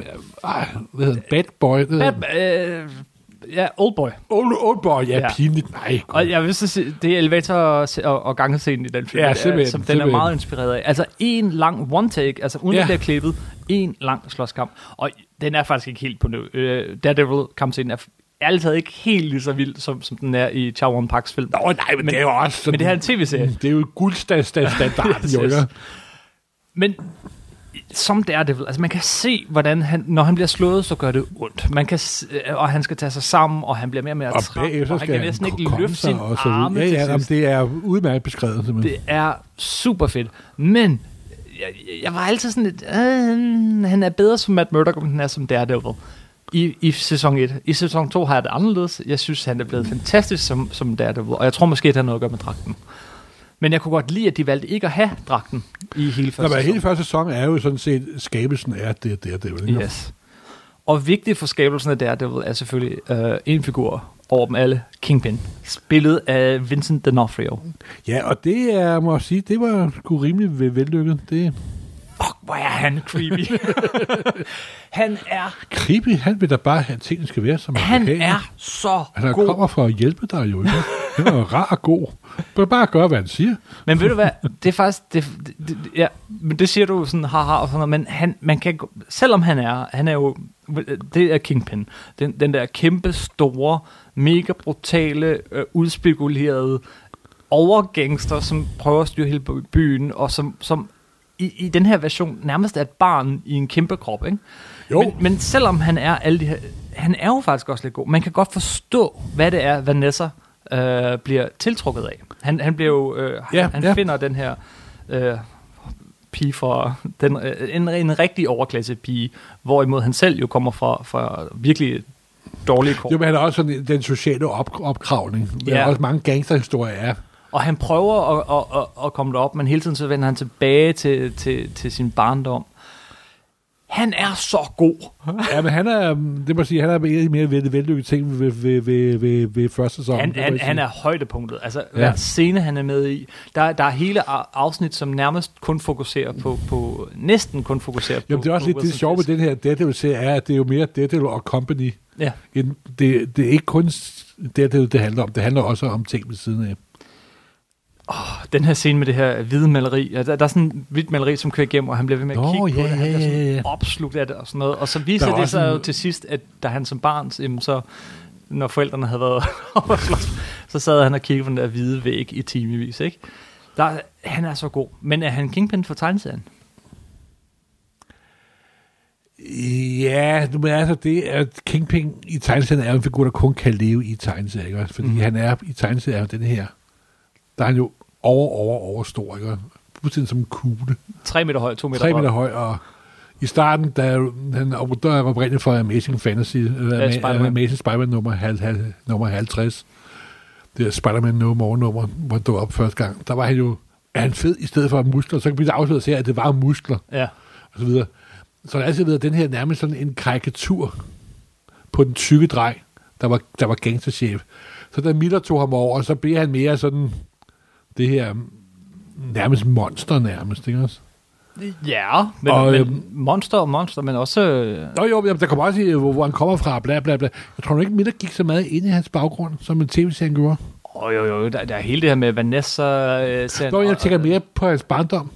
S2: Ej, hvad hedder den? Bad Boy? det hedder den.
S1: Øh, øh, ja, Oldboy.
S2: Old, old Boy, ja,
S1: Ja.
S2: pinligt. Nej, godt.
S1: Og jeg vil så sige, det er elevator- og, og gangescenen i den film,
S2: Ja,
S1: øh, som den
S2: simpelthen,
S1: er
S2: simpelthen.
S1: meget inspireret af. Altså en lang one take, altså uden ja.
S2: Ja.
S1: at blive klippet, en lang slåskamp. Og den er faktisk ikke helt på nu. Øh, Daredevil kampscenen er f- ærligt taget ikke helt lige så vild, som, som den er i Chow Man Pax film.
S2: Nå, nej, men, det er jo også sådan... Mm,
S1: Men det her er en tv-serie.
S2: det er jo guldstandarden,
S1: Yes,
S2: jo,
S1: yes.
S2: ikke?
S1: Men som Daredevil, altså man kan se, hvordan han, når han bliver slået, så gør det ondt. Man kan, s- øh, og han skal tage sig sammen, og han bliver mere og mere
S2: Og
S1: træt, og Altså,
S2: bagefter
S1: han
S2: skal
S1: kan
S2: han
S1: næsten ikke
S2: komme
S1: løfte
S2: sig
S1: sin
S2: og så videre.
S1: arme
S2: Ja, ja,
S1: til
S2: jamen,
S1: sidst.
S2: det er udmærket beskrevet, simpelthen.
S1: Det er super fedt. Men jeg, jeg var altid sådan lidt, øh, han er bedre som Matt Murdock, end han er som Daredevil. I, I sæson 1. I sæson 2 har jeg det anderledes. Jeg synes, han er blevet fantastisk som, som Daredevil. Og jeg tror måske, det har noget at gøre med dragten. Men jeg kunne godt lide, at de valgte ikke at have dragten i hele
S2: Nå,
S1: første
S2: men
S1: sæson.
S2: hele første sæson er jo sådan set skabelsen af det, det, det, det,
S1: Yes. Og vigtigt for skabelsen af Daredevil er selvfølgelig øh, en figur over dem alle, Kingpin, spillet af Vincent D'Onofrio.
S2: Ja, og det er, må jeg sige, det var sgu rimelig ve- vellykket. Det,
S1: Fuck, hvor er han creepy. han er,
S2: Creepy, han vil da bare have, at tingene skal være, som
S1: han
S2: vil have.
S1: er så
S2: Altså, han
S1: god.
S2: kommer for at hjælpe dig jo. Ikke? Han er jo rar og god. Du kan bare gøre, hvad han siger.
S1: Men ved du hvad, det er faktisk, det, det, det, ja, men det siger du sådan, haha og sådan noget, men han, man kan, gå- selvom han er, han er jo, det er Kingpin, den, den der kæmpe, store, mega brutale, øh, udspekulerede overgangster, som prøver at styre hele by- byen, og som, som i, i den her version nærmest er et barn i en kæmpe krop, ikke?
S2: Jo.
S1: Men, men selvom han er alle de her, han er jo faktisk også lidt god. Man kan godt forstå, hvad det er, Vanessa øh, bliver tiltrukket af. Han, han bliver jo, øh, ja,
S2: Ja,
S1: han
S2: ja.
S1: finder den her øh, pige fra, den, øh, en, en rigtig overklasse pige, hvorimod han selv jo kommer fra, fra virkelig dårlige kår.
S2: Jo, men han er også sådan, den sociale op- opkravning. Der
S1: Ja.
S2: er også mange gangsterhistorier er.
S1: Og han prøver at, at, at, at komme derop, men hele tiden så vender han tilbage til, til, til sin barndom. Han er så god.
S2: Ja, men han er, øhm, det må jeg sige, han er en af de mere vel- vellykkede ting ved, ved, ved, ved, ved første sæson.
S1: Han,
S2: det må
S1: han,
S2: jeg
S1: han
S2: sige.
S1: er højdepunktet. Altså, ja.
S2: Ja.
S1: hver scene, han er med i. Der, der er hele a- afsnit, som nærmest kun fokuserer på, på næsten kun fokuserer på
S2: Jamen, det er også
S1: på
S2: lidt det
S1: Wilson
S2: sjove ved
S1: Fisk.
S2: den her Daredevil-serie, er, at det er jo mere Daredevil og Company.
S1: Ja.
S2: End det, det er ikke kun Daredevil, det handler om. Det handler også om ting ved siden af.
S1: Den her scene med det her hvide maleri. Ja, der, der er sådan et hvidt maleri, som kører igennem, og han bliver ved med at
S2: Nå,
S1: kigge på
S2: ja,
S1: det. Han
S2: ja,
S1: bliver sådan
S2: ja, ja.
S1: opslugt af det og sådan noget. Og så
S2: Der
S1: viser
S2: er
S1: det
S2: også
S1: sig
S2: en-
S1: jo til sidst, at da han som barn, jamen, så når forældrene havde været oppe at slås, så sad han og kiggede på den der hvide væg i timevis, ikke? Der, han er så god. Men er han Kingpin for tegneserien?
S2: Ja, nu er altså det, at Kingpin i tegneserien er jo en figur, der kun kan leve i tegneserien, ikke? også? Fordi
S1: Mhm.
S2: mm. han er i tegneserien er jo den her. Der er han jo over, over, over stor, ikke? også? Fuldstændig som en kugle.
S1: 3 meter høj, 2 meter
S2: Tre
S1: bred.
S2: meter høj, og i starten, da han der er oprindeligt for Amazing Fantasy, eller Ama-
S1: Spider-Man.
S2: Amazing Spider-Man nummer, hal, hal, nummer 50, det er Spider-Man No More nummer, hvor han dukker op første gang, der var han jo, er han fed i stedet for muskler, så kan vi da afsløre her, at det var muskler,
S1: Ja.
S2: og så videre. Så der har altid været den her nærmest sådan en karikatur på den tykke dreng, der var, der var gangsterchef. Så da Miller tog ham over, så blev han mere sådan det her mm, nærmest monster nærmest, ikke også?
S1: Ja, men, og,
S2: Og,
S1: men
S2: øhm,
S1: monster og monster, men også... øh,
S2: Nå jo, jamen, der kommer også i, hvor, hvor han kommer fra, bla bla bla. Jeg tror nu ikke, Miller gik så meget ind i hans baggrund, som en tv-serien gjorde.
S1: Åh, jo, jo, der, der er hele det her med Vanessa... Øh, serien,
S2: Nå, jeg
S1: og-
S2: tænker mere på hans barndom.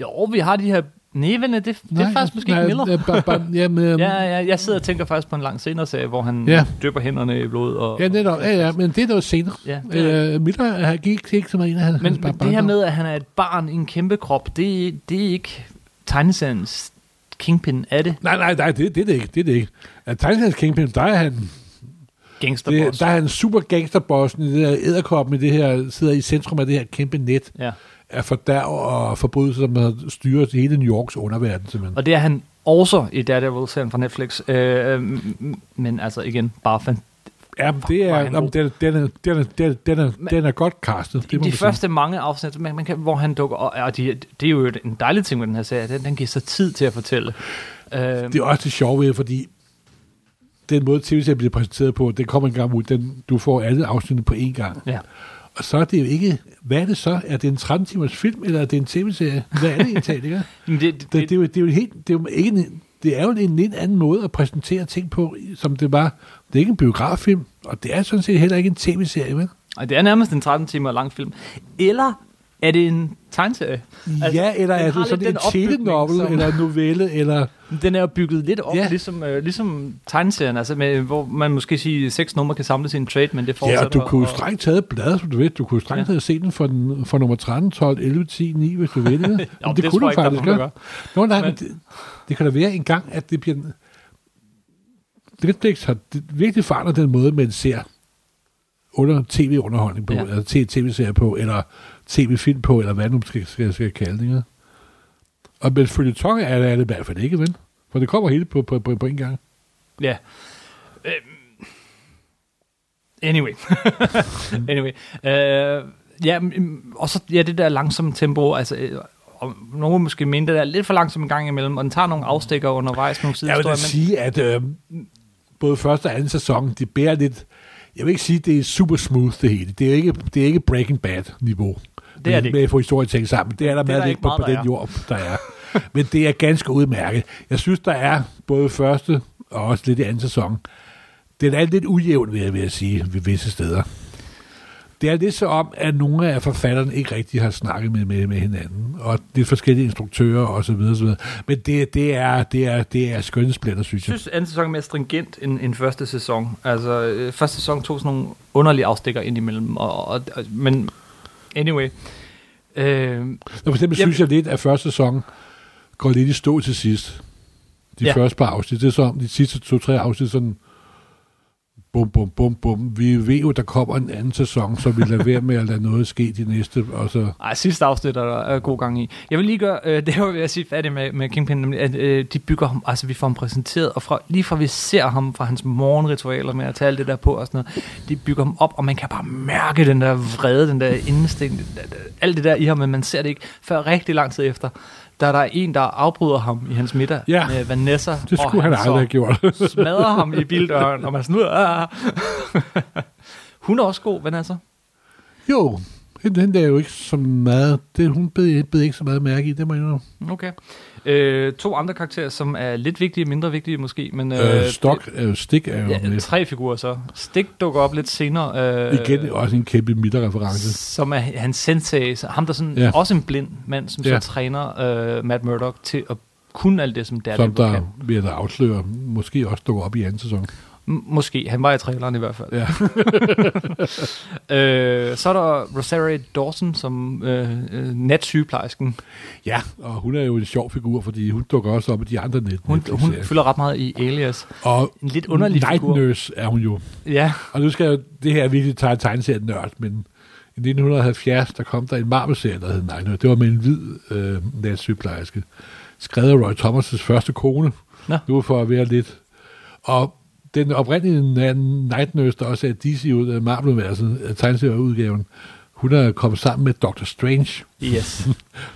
S1: Jo, vi har de her... Nævende, det, det er faktisk måske ikke Miller.
S2: Nej, ba- ba- jamen, øhm,
S1: Ja, ja, jeg sidder og tænker faktisk på en lang senere serie, hvor han ja.
S2: Ja.
S1: dypper hænderne i blod. Og,
S2: ja, netop. Ja, ja, men det er noget senere.
S1: Ja, det er-
S2: øh, Miller han gik ikke så meget ind i hans,
S1: men, men
S2: hans barndom.
S1: det her med, at han er et barn i en kæmpe krop, det, det er ikke tegneseriens kingpin, er det?
S2: Nej, nej, nej, det, det er det ikke. Det er det ikke. At Titans Kingpin, der er han,
S1: Gangsterboss.
S2: det, der er han super gangsterbossen i det her æderkoppen i det her, sidder i centrum af det her kæmpe net
S1: Ja.
S2: af fordærv og forbrydelser, som har styret hele New Yorks underverden, simpelthen.
S1: Og det er han også i Daredevil-serien fra Netflix. Øh, øh, m- men altså igen, bare fan,
S2: Ja, men det
S1: hvor er
S2: er,
S1: han
S2: jamen, den, den, er, den, er, den, er, den, er, den er godt castet. Det må
S1: de
S2: man sige.
S1: første mange afsnit, man, man kan, hvor han dukker op, og de, det er jo et- en dejlig ting med den her serie, den, den giver sig tid til at fortælle. Øh,
S2: Det er også det sjove ved, fordi den måde tv-serien bliver præsenteret på, den kommer en gang ud, den, du får alle afsnittene på én gang.
S1: ja.
S2: Og så er det jo ikke, hvad er det så? Er det en 13-timers film, eller er det en tv-serie? Hvad er det egentlig, ikke?
S1: Men det, det,
S2: Det, det, er jo, det, er jo helt, det er jo ikke en, det er jo en lidt anden måde at præsentere ting på, som det var. Det er ikke en biograffilm, og det er sådan set heller ikke en tv-serie, vel?
S1: og det er nærmest en 13 timer lang film. Eller er det en tegneserie?
S2: Altså, ja, eller
S1: den
S2: er
S1: har
S2: det sådan
S1: lidt den
S2: en
S1: opbygning,
S2: telenovel,
S1: som-
S2: eller en novelle, eller...
S1: Den er jo bygget lidt op, ja.
S2: Ja.
S1: ligesom, øh, ligesom tegneserien, altså med, hvor man måske siger, seks numre kan samles i en trade, men det fortsætter.
S2: Ja, og du kunne
S1: og-
S2: strengt taget blade, som du ved. Du kunne
S1: Ja.
S2: strengt taget se den for, den for nummer 13, 12, 11, 10, 9, hvis du vil. det,
S1: Jo, det, det kunne
S2: du
S1: jeg ikke, faktisk, der er
S2: ikke.
S1: nogen,
S2: Nå, nej,
S1: Men-
S2: men det, det kan da være en gang, at det bliver... en- Netflix har det- virkelig forandret den måde, man ser under tv-underholdning på,
S1: Ja.
S2: ja. eller t- tv-serier på, eller tv-film på, eller hvad nu skal, skal, skal kalde det. ikke? Og men følge tonge er det, er det i hvert fald ikke, vel? For det kommer hele på, på, på, på en gang.
S1: der gør. Ja. Øhm. Anyway. anyway. Øh, ja, mm, og så ja, det der langsomme tempo, altså... Øh, og nogen vil måske mene, det er lidt for langsomt en gang imellem, og den tager nogle afstikker undervejs, nogle
S2: Jeg vil da
S1: sidehistorier, men
S2: sige, at øh, både første og anden sæson, de bærer lidt... Jeg vil ikke sige, at det er super smooth det hele. Det er ikke, det er ikke Breaking Bad-niveau.
S1: det ikke.
S2: Med at få historien tænkt sammen. Det er der
S1: Det er der
S2: meget
S1: ikke
S2: lidt på,
S1: meget,
S2: på
S1: der
S2: den
S1: er.
S2: jord, der er. Men det er ganske udmærket. Jeg synes, der er både første og også lidt i anden sæson. Den er lidt ujævn, vil jeg, vil jeg sige, ved visse steder. Det er lidt så om, at nogle af forfatterne ikke rigtig har snakket med, med, med hinanden, og lidt forskellige instruktører og så videre, så videre. Men det, det er, det er, det er skønne splitter, synes
S1: Jeg
S2: jeg.
S1: synes, anden sæson er mere stringent end, end første sæson. Altså, øh, første sæson tog sådan nogle underlige afstikker ind imellem, og, og, og, men anyway. Øh,
S2: Nå, for eksempel
S1: Jamen-
S2: synes jeg lidt, at første sæson går lidt i stå til sidst. De
S1: Ja.
S2: ja. første par afsnit. Det er så om de sidste to-tre afsnit sådan bum, bum, bum, bum. Vi ved jo, der kommer en anden sæson, så vi lader være med at lade noget ske de næste, og så...
S1: ej, sidste afsnit er der øh, god gang i. Jeg vil lige gøre, øh, det var ved at sige færdig med, med Kingpin, nemlig, at øh, de bygger ham, altså vi får ham præsenteret, og fra, lige fra vi ser ham fra hans morgenritualer med at tage alt det der på og sådan noget, de bygger ham op, og man kan bare mærke den der vrede, den der indstilling, alt det der i ham, men man ser det ikke før rigtig lang tid efter. der er der en, der afbryder ham i hans middag
S2: Ja.
S1: med Vanessa.
S2: Det
S1: og
S2: skulle han
S1: så
S2: aldrig have gjort.
S1: smadrer ham i bildøren, og man sådan ud. "Ah." Hun er også god, Vanessa.
S2: jo, hende, hende er jo ikke så meget... Det, hun bed, bed ikke så meget mærke i, det må jeg indrømme.
S1: Mm, Okay. Øh, to andre karakterer, som er lidt vigtige, mindre vigtige måske, men...
S2: Øh, Stok, øh, Stik er jo
S1: det- Ja,
S2: med.
S1: tre figurer så. Stik dukker op lidt senere. Øh,
S2: Igen også en kæmpe midterreference.
S1: Som er hans sensei, så ham der sådan,
S2: Ja.
S1: ja. også en blind mand, som ja.
S2: Ja.
S1: så træner øh, Matt Murdock til at kunne alt det, som Daredevil
S2: Som
S1: kan.
S2: der, vil jeg da afsløre, måske også dukker op i anden sæson.
S1: M- Måske. Han var i traileren i hvert fald.
S2: Ja.
S1: øh, så er der Rosario Dawson som øh, øh, natsygeplejersken.
S2: Ja, og hun er jo en sjov figur, fordi hun dukker også op i de andre net.
S1: Hun, hun
S2: Netflix-serier.
S1: fylder ret meget i Alias.
S2: og
S1: En lidt underlig
S2: Night
S1: figur.
S2: Nurse er hun jo.
S1: Ja,
S2: Og nu skal jeg, jo- det her er virkelig tage tegneserien nørd, men i 1970, der kom der en Marvel-serie, der hed Night Nurse. Det var med en hvid øh, natsygeplejerske, skrevet af Roy Thomas' første kone.
S1: Nå.
S2: Nu for at være lidt. Og den oprindelige na- Night Nurse, der også er DC ud af Marvel-universet, øh, tegneserieudgaven, hun er kommet sammen med Doctor Strange.
S1: yes.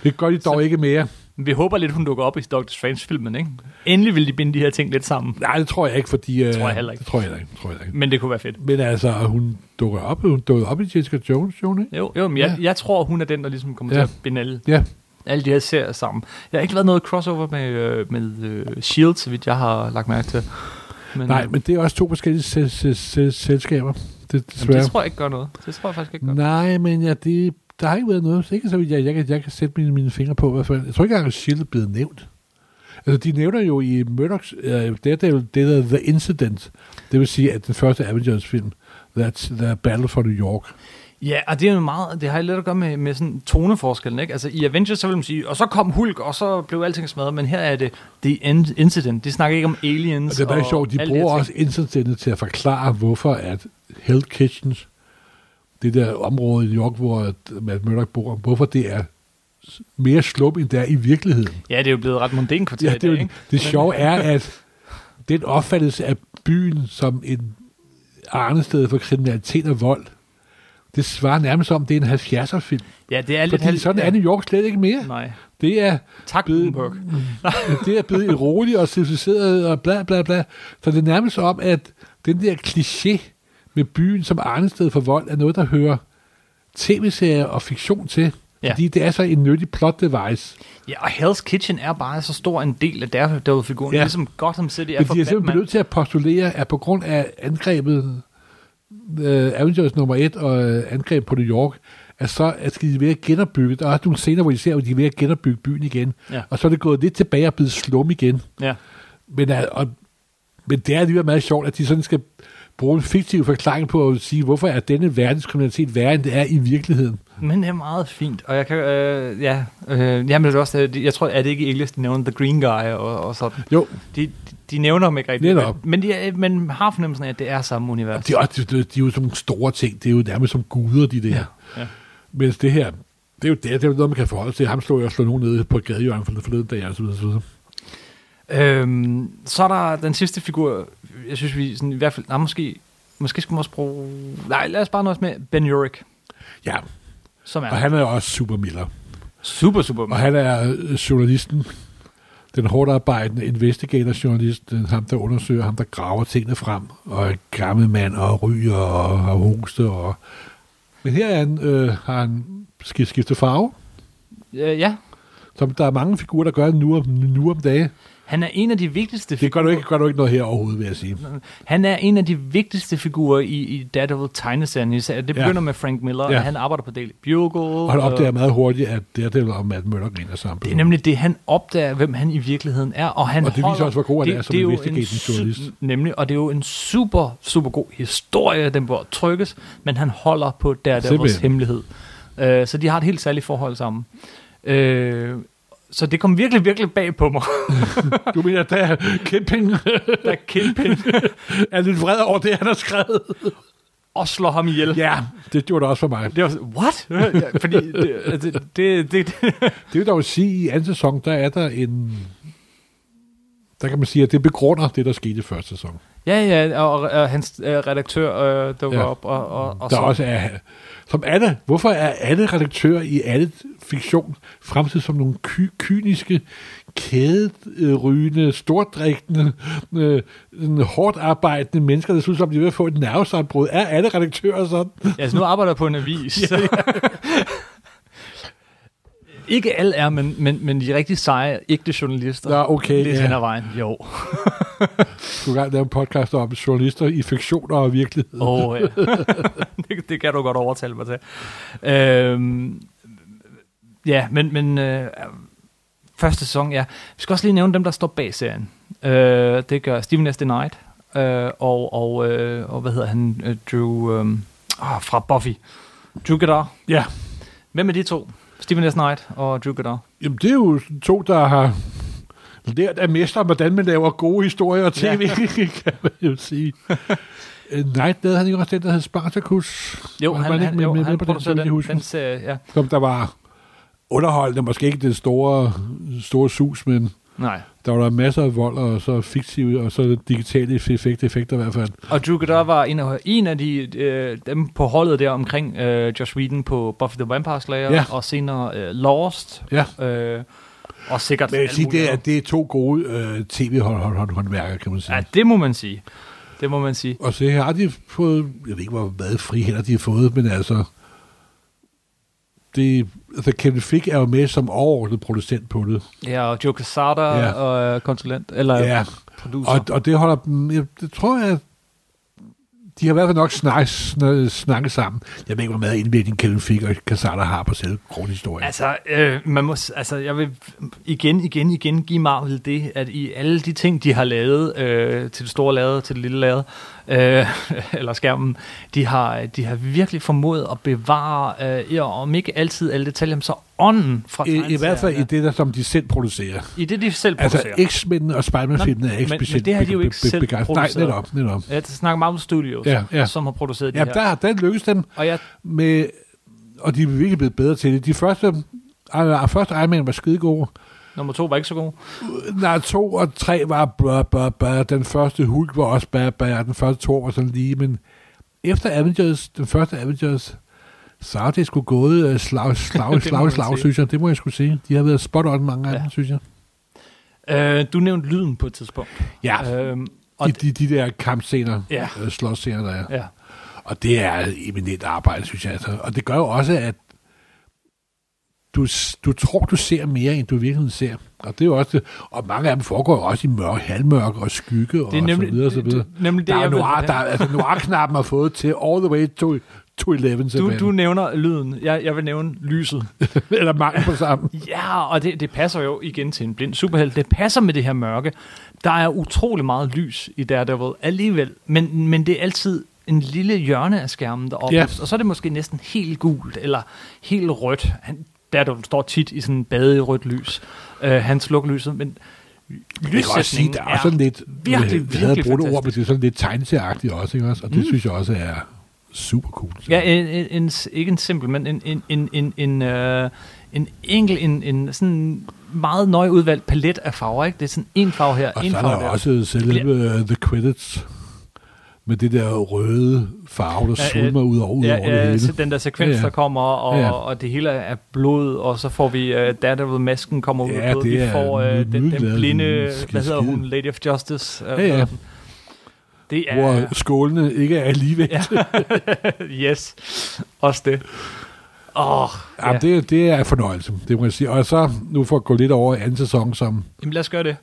S2: Det gør de dog ikke mere.
S1: Vi håber lidt, hun dukker op i Doctor Strange-filmen, ikke? Endelig vil de binde de her ting lidt sammen.
S2: Nej, det tror jeg ikke, fordi... Øh,
S1: Tror jeg heller ikke.
S2: Det tror jeg heller ikke. Tror jeg heller ikke.
S1: Men det kunne være fedt.
S2: Men altså, hun dukker op, hun dukker op i Jessica Jones, jo, ikke?
S1: Jo, jo men jeg,
S2: Ja.
S1: jeg tror, hun er den, der ligesom kommer
S2: Ja.
S1: ja. til at binde alle,
S2: Ja,
S1: alle de her serier sammen. Jeg har ikke været noget crossover med, øh, med øh, S.H.I.E.L.D., så vidt jeg har lagt mærke til. Men, øh,
S2: nej, men det er også to forskellige se- se- se- selskaber. Det,
S1: jamen,
S2: desværre.
S1: det tror jeg ikke gør noget. Det tror jeg faktisk ikke gør noget.
S2: nej, men ja, det, der har ikke været noget. Ikke så vidt jeg, jeg, kan, jeg kan sætte mine, mine fingre på, i hvert fald. Jeg tror ikke engang, at Shield er blevet nævnt. Altså, de nævner jo i Murdochs, øh, det, er jo det der The Incident, det vil sige, at den første Avengers-film, That's The Battle for New York.
S1: Ja, og det er jo meget, det har lidt at gøre med, med sådan toneforskellen, ikke? Altså i Avengers, så vil man sige, og så kom Hulk, og så blev alting smadret, men her er det The End Incident. De snakker ikke om aliens.
S2: Og Altså, det er bare sjovt, de
S1: alle her
S2: bruger
S1: ting.
S2: også incidentet til at forklare, hvorfor at Hell Kitchens, det der område i New York, hvor at Matt Murdock bor, hvorfor det er s- mere slum, end det er i virkeligheden.
S1: Ja, det er jo blevet ret mundane kvarter ja,
S2: det, er jo-
S1: ikke?
S2: det sjove er, at den opfattelse af byen som en arnested for kriminalitet og vold, det svarer nærmest om, det er en 70'er-film.
S1: Ja, det er lidt...
S2: Fordi sådan er New York slet ikke mere.
S1: Nej.
S2: Det er
S1: Tak,
S2: Bede-
S1: Bloomberg.
S2: det er blevet et roligt og civiliseret og bla bla bla. Så det er nærmest som om, at den der kliché med byen som arnested for vold, er noget, der hører tv-serier og fiktion til. Ja.
S1: Ja.
S2: Fordi det er så en nyttig plot device.
S1: Ja, og Hell's Kitchen er bare så stor en del af der, der figuren,
S2: Ja.
S1: ja. ligesom Gotham City er
S2: Men
S1: for
S2: de er simpelthen
S1: Batman.
S2: blevet nødt til at postulere, at på grund af angrebet øh, Avengers nummer 1 og øh, angreb på New York, at så at skal de være genopbygget. Der er også nogle scener, hvor de ser, at de er ved at genopbygge byen igen.
S1: Ja.
S2: Og så er det gået lidt tilbage og blevet slum igen.
S1: Ja.
S2: Men, øh, og, men det er alligevel meget sjovt, at de sådan skal bruge en fiktiv forklaring på at sige, hvorfor er denne verdenskriminalitet værre, end det er i virkeligheden.
S1: Men det er meget fint, og jeg kan... Øh, ja, øh, jamen, det er også, øh, jeg tror, er det ikke Elias, de nævner The Green Guy og, og sådan.
S2: Jo,
S1: De, de, de nævner dem ikke rigtigt.
S2: Netop.
S1: Men, men de, er- men har fornemmelsen af, at det er samme univers.
S2: de er, også- de, de er jo som store ting. Det er jo nærmest som guder, de der. Ja.
S1: ja.
S2: Mens det her, det er jo det, det er jo noget, man kan forholde sig til. Ham slog jeg og slog nogen nede på et gadehjørne for forleden dag, og så videre, så videre.
S1: Øhm, så er der den sidste figur, jeg synes vi sådan, i hvert fald, nej, måske, måske skulle man også bruge, nej, lad os bare nøjes med Ben Urich,
S2: Ja,
S1: som er
S2: og han er jo også super miller.
S1: super, super
S2: Og han er øh, journalisten, den hårdt arbejdende investigator-journalist, den- øh, ham der undersøger, ham der graver tingene frem, og er en gammel mand, og ryger, og har hoste, og... Men her er han, øh, har han sk- skiftet farve,
S1: øh, Ja,
S2: som der er mange figurer, der gør nu om, nu om dage.
S1: han er en af de vigtigste
S2: Det gør du ikke, gør du ikke noget her overhovedet, vil jeg sige.
S1: Han er en af de vigtigste figurer i, i Daredevil tegneserien. især. Det
S2: Ja.
S1: begynder ja. med Frank Miller,
S2: Ja.
S1: ja. og han arbejder på Daily Bugle.
S2: Og han opdager meget hurtigt, at det er det, og Matt Møller griner sammen.
S1: Det er nemlig det, han opdager, hvem han i virkeligheden er. Og, han
S2: Og det viser
S1: holder,
S2: også, hvor god han er som
S1: jo
S2: investigative
S1: en su-
S2: journalist.
S1: Nemlig, og det er jo en super, super god historie, den bør trykkes, men han holder på Daredevils
S2: Simpelthen.
S1: hemmelighed. Uh, så de har et helt særligt forhold sammen. Uh, så det kom virkelig, virkelig bag på mig,
S2: Du mener, at der er Kemping
S1: da Kingpin
S2: er lidt vred over det, han har skrevet?
S1: og slår ham ihjel.
S2: Ja, det gjorde det også for mig.
S1: Det var sådan, what? Ja, fordi det, altså, det, det, det,
S2: Det vil dog sige, at i anden sæson, der er der en... Der kan man sige, at det begrunder det, der skete i første sæson.
S1: Ja, ja, og, og, og hans øh, redaktør øh, dukker
S2: Ja.
S1: ja. op. Og, og, og
S2: der
S1: så,
S2: også er, som alle, hvorfor er alle redaktører i alle fiktion fremstillet som nogle ky- kyniske, kæderygende, stordrikkende, øh, sådan hårdt arbejdende mennesker, der synes, at de er ved at få et nervesambrud. Er alle redaktører sådan?
S1: Ja, altså nu arbejder jeg på en avis. ja. Ikke alle er, men, men, men de rigtig seje, ægte journalister.
S2: Nå, okay,
S1: Lidt
S2: ja.
S1: hen ad vejen, jo.
S2: Du kan lave en podcast om journalister i fiktioner og virkelighed.
S1: Og, øh, det, det kan du godt overtale mig til. Øhm, ja, men, men øh, første sæson, ja. Vi skal også lige nævne dem, der står bag serien. Øh, det gør Steven S. Knight øh, og, og, øh, og hvad hedder han? Øh, Drew øh, oh, fra Buffy. Drew Goddard.
S2: Ja,
S1: Hvem er de to? Steven S. Knight og Drew Goddard.
S2: Jamen, det er jo to, der har lært af mester, hvordan man laver gode historier og tv, ja. kan man jo sige. Øh, Nej, det havde han ikke også den, der hed Spartacus.
S1: Jo,
S2: Var-
S1: han,
S2: var
S1: han,
S2: ikke
S1: han,
S2: med-
S1: jo,
S2: med- med
S1: han
S2: på den, så
S1: producerede
S2: vidt jeg
S1: den,
S2: husker?
S1: den serie, ja.
S2: Som der var underholdende, måske ikke det store, store sus, men
S1: Nej.
S2: der var der masser af vold, og så fiktive, og så digitale effekter, effekter i hvert fald.
S1: Og Drew Goddard var en af, en af de, øh, dem på holdet der omkring øh, Josh Whedon på Buffy the Vampire Slayer,
S2: Ja.
S1: og senere øh, Lost,
S2: Ja.
S1: øh, og sikkert
S2: Men jeg vil
S1: alt
S2: sige,
S1: muligt
S2: det er,
S1: andet.
S2: det er to gode øh, tv-håndværkere, kan man sige.
S1: Ja, det må man sige. Det må man sige.
S2: Og så har de fået, jeg ved ikke, hvor meget fri hænder de har fået, men altså, det, altså Kevin Fick er jo med som overordnet producent på det.
S1: Ja, og Joe Quesada
S2: Ja.
S1: ja. og øh, konsulent, eller ja.
S2: Ja,
S1: producer.
S2: og, og det holder dem, jeg, det tror jeg, de har i hvert fald nok snak, snak, snakket sammen. Jeg ved ikke, hvor meget indvirkning Kevin Fick og Casada har på selve grundhistorien. Altså,
S1: Altså, øh, man må, s- altså, jeg vil igen, igen, igen give Marvel det, at i alle de ting, de har lavet, øh, til det store lade, til det lille lade, øh, eller skærmen, de har, de har virkelig formået at bevare, øh, ja, om ikke altid alle detaljer, men så ånden fra
S2: I, I hvert fald i
S1: tegneserierne.
S2: det, der, som de selv producerer.
S1: i det, de selv
S2: Altså,
S1: producerer. Altså,
S2: X-Men og Spider-Man-filmene er ikke
S1: men- men
S2: specielt
S1: det har de jo
S2: be-
S1: ikke
S2: be-
S1: selv
S2: begejstret. Nej,
S1: produceret.
S2: netop, netop.
S1: jeg snakker Marvel Studios,
S2: Ja,
S1: ja,
S2: ja.
S1: ja. som har produceret de
S2: Ja,
S1: her.
S2: der, der lykkes dem
S1: Og jeg,
S2: med, og de er virkelig blevet bedre til det. De første, altså, første Iron Man var skide gode.
S1: nummer to var ikke så god.
S2: Nej, to og tre var blah, blah, blah. Den første Hulk var også blah, blah. Den første Thor var sådan lige, men efter Avengers, den første Avengers, så er det sgu gået øh, slag, slag,
S1: Det må
S2: slag,
S1: man
S2: slag,
S1: sige.
S2: synes jeg. Det må jeg skulle sige. De har været spot on mange gange, ja.
S1: Ja.
S2: synes jeg.
S1: Øh, du nævnte lyden på et tidspunkt.
S2: Ja,
S1: Øhm, og
S2: de, de, de der kampscener, ja.
S1: Ja.
S2: øh, slåsscener, der er.
S1: ja.
S2: Og det er eminent arbejde, synes jeg. Altså. Og det gør jo også, at du, du tror, du ser mere, end du virkelig ser. Og det er jo også det. Og mange af dem foregår jo også i mørk, halvmørke og skygge og
S1: Det er nemlig
S2: så videre, og så videre.
S1: det- nemlig det,
S2: der er
S1: jeg vil-
S2: noir, der, er- altså noir-knappen har fået til all the way to, to 11,
S1: Du,
S2: simpelthen.
S1: du nævner lyden. Jeg, jeg vil nævne lyset.
S2: Eller mangel på sammen.
S1: Ja, og det, det passer jo igen til en blind superhelt. Det passer med det her mørke. Der er utrolig meget lys i Daredevil alligevel, men, men det er altid en lille hjørne af skærmen, der oplyser. Og så er det måske næsten helt gult, eller helt rødt. Han, Daredevil står tit i sådan en bade i rødt lys. Uh, han slukker lyset, men
S2: Jeg kan også sige,
S1: lyssætningen
S2: der er,
S1: er
S2: sådan lidt,
S1: virkelig,
S2: jeg havde
S1: virkelig
S2: brugt et ord, men
S1: fantastisk.
S2: det er sådan lidt tegneserieagtigt også, ikke også? Og det mm. synes jeg også er super cool.
S1: Ja, en, en, en, ikke en simpel, men en, en, en, en, en, øh, en enkel, en, en sådan meget nøje udvalgt palet af farver, ikke? Det er sådan en farve her,
S2: Og
S1: en
S2: så er der
S1: farve der.
S2: også selve uh, The Credits med det der røde farve, der
S1: Ja,
S2: ja, svulmer ud over, ud over
S1: ja, altså,
S2: det
S1: ja,
S2: hele.
S1: så den der sekvens,
S2: Ja,
S1: ja,
S2: ja.
S1: ja. der kommer, og,
S2: Ja,
S1: ja, ja.
S2: ja.
S1: og det hele er blod, og så får vi uh, Daredevil-masken kommer ud
S2: Ja,
S1: af blodet.
S2: det
S1: Vi
S2: er
S1: får uh,
S2: ny-
S1: den, den
S2: nydeligt
S1: blinde,
S2: lavet
S1: hvad hedder hun,
S2: skide.
S1: Lady of Justice. øh,
S2: Ja, ja.
S1: Det
S2: Hvor
S1: er,
S2: skålene ikke er alligevel. Ja,
S1: yes, også det. Åh, oh,
S2: ja. Jamen, det, det er en fornøjelse, det må jeg sige. Og så, nu for at gå lidt over i anden sæson, som
S1: Jamen lad os gøre det.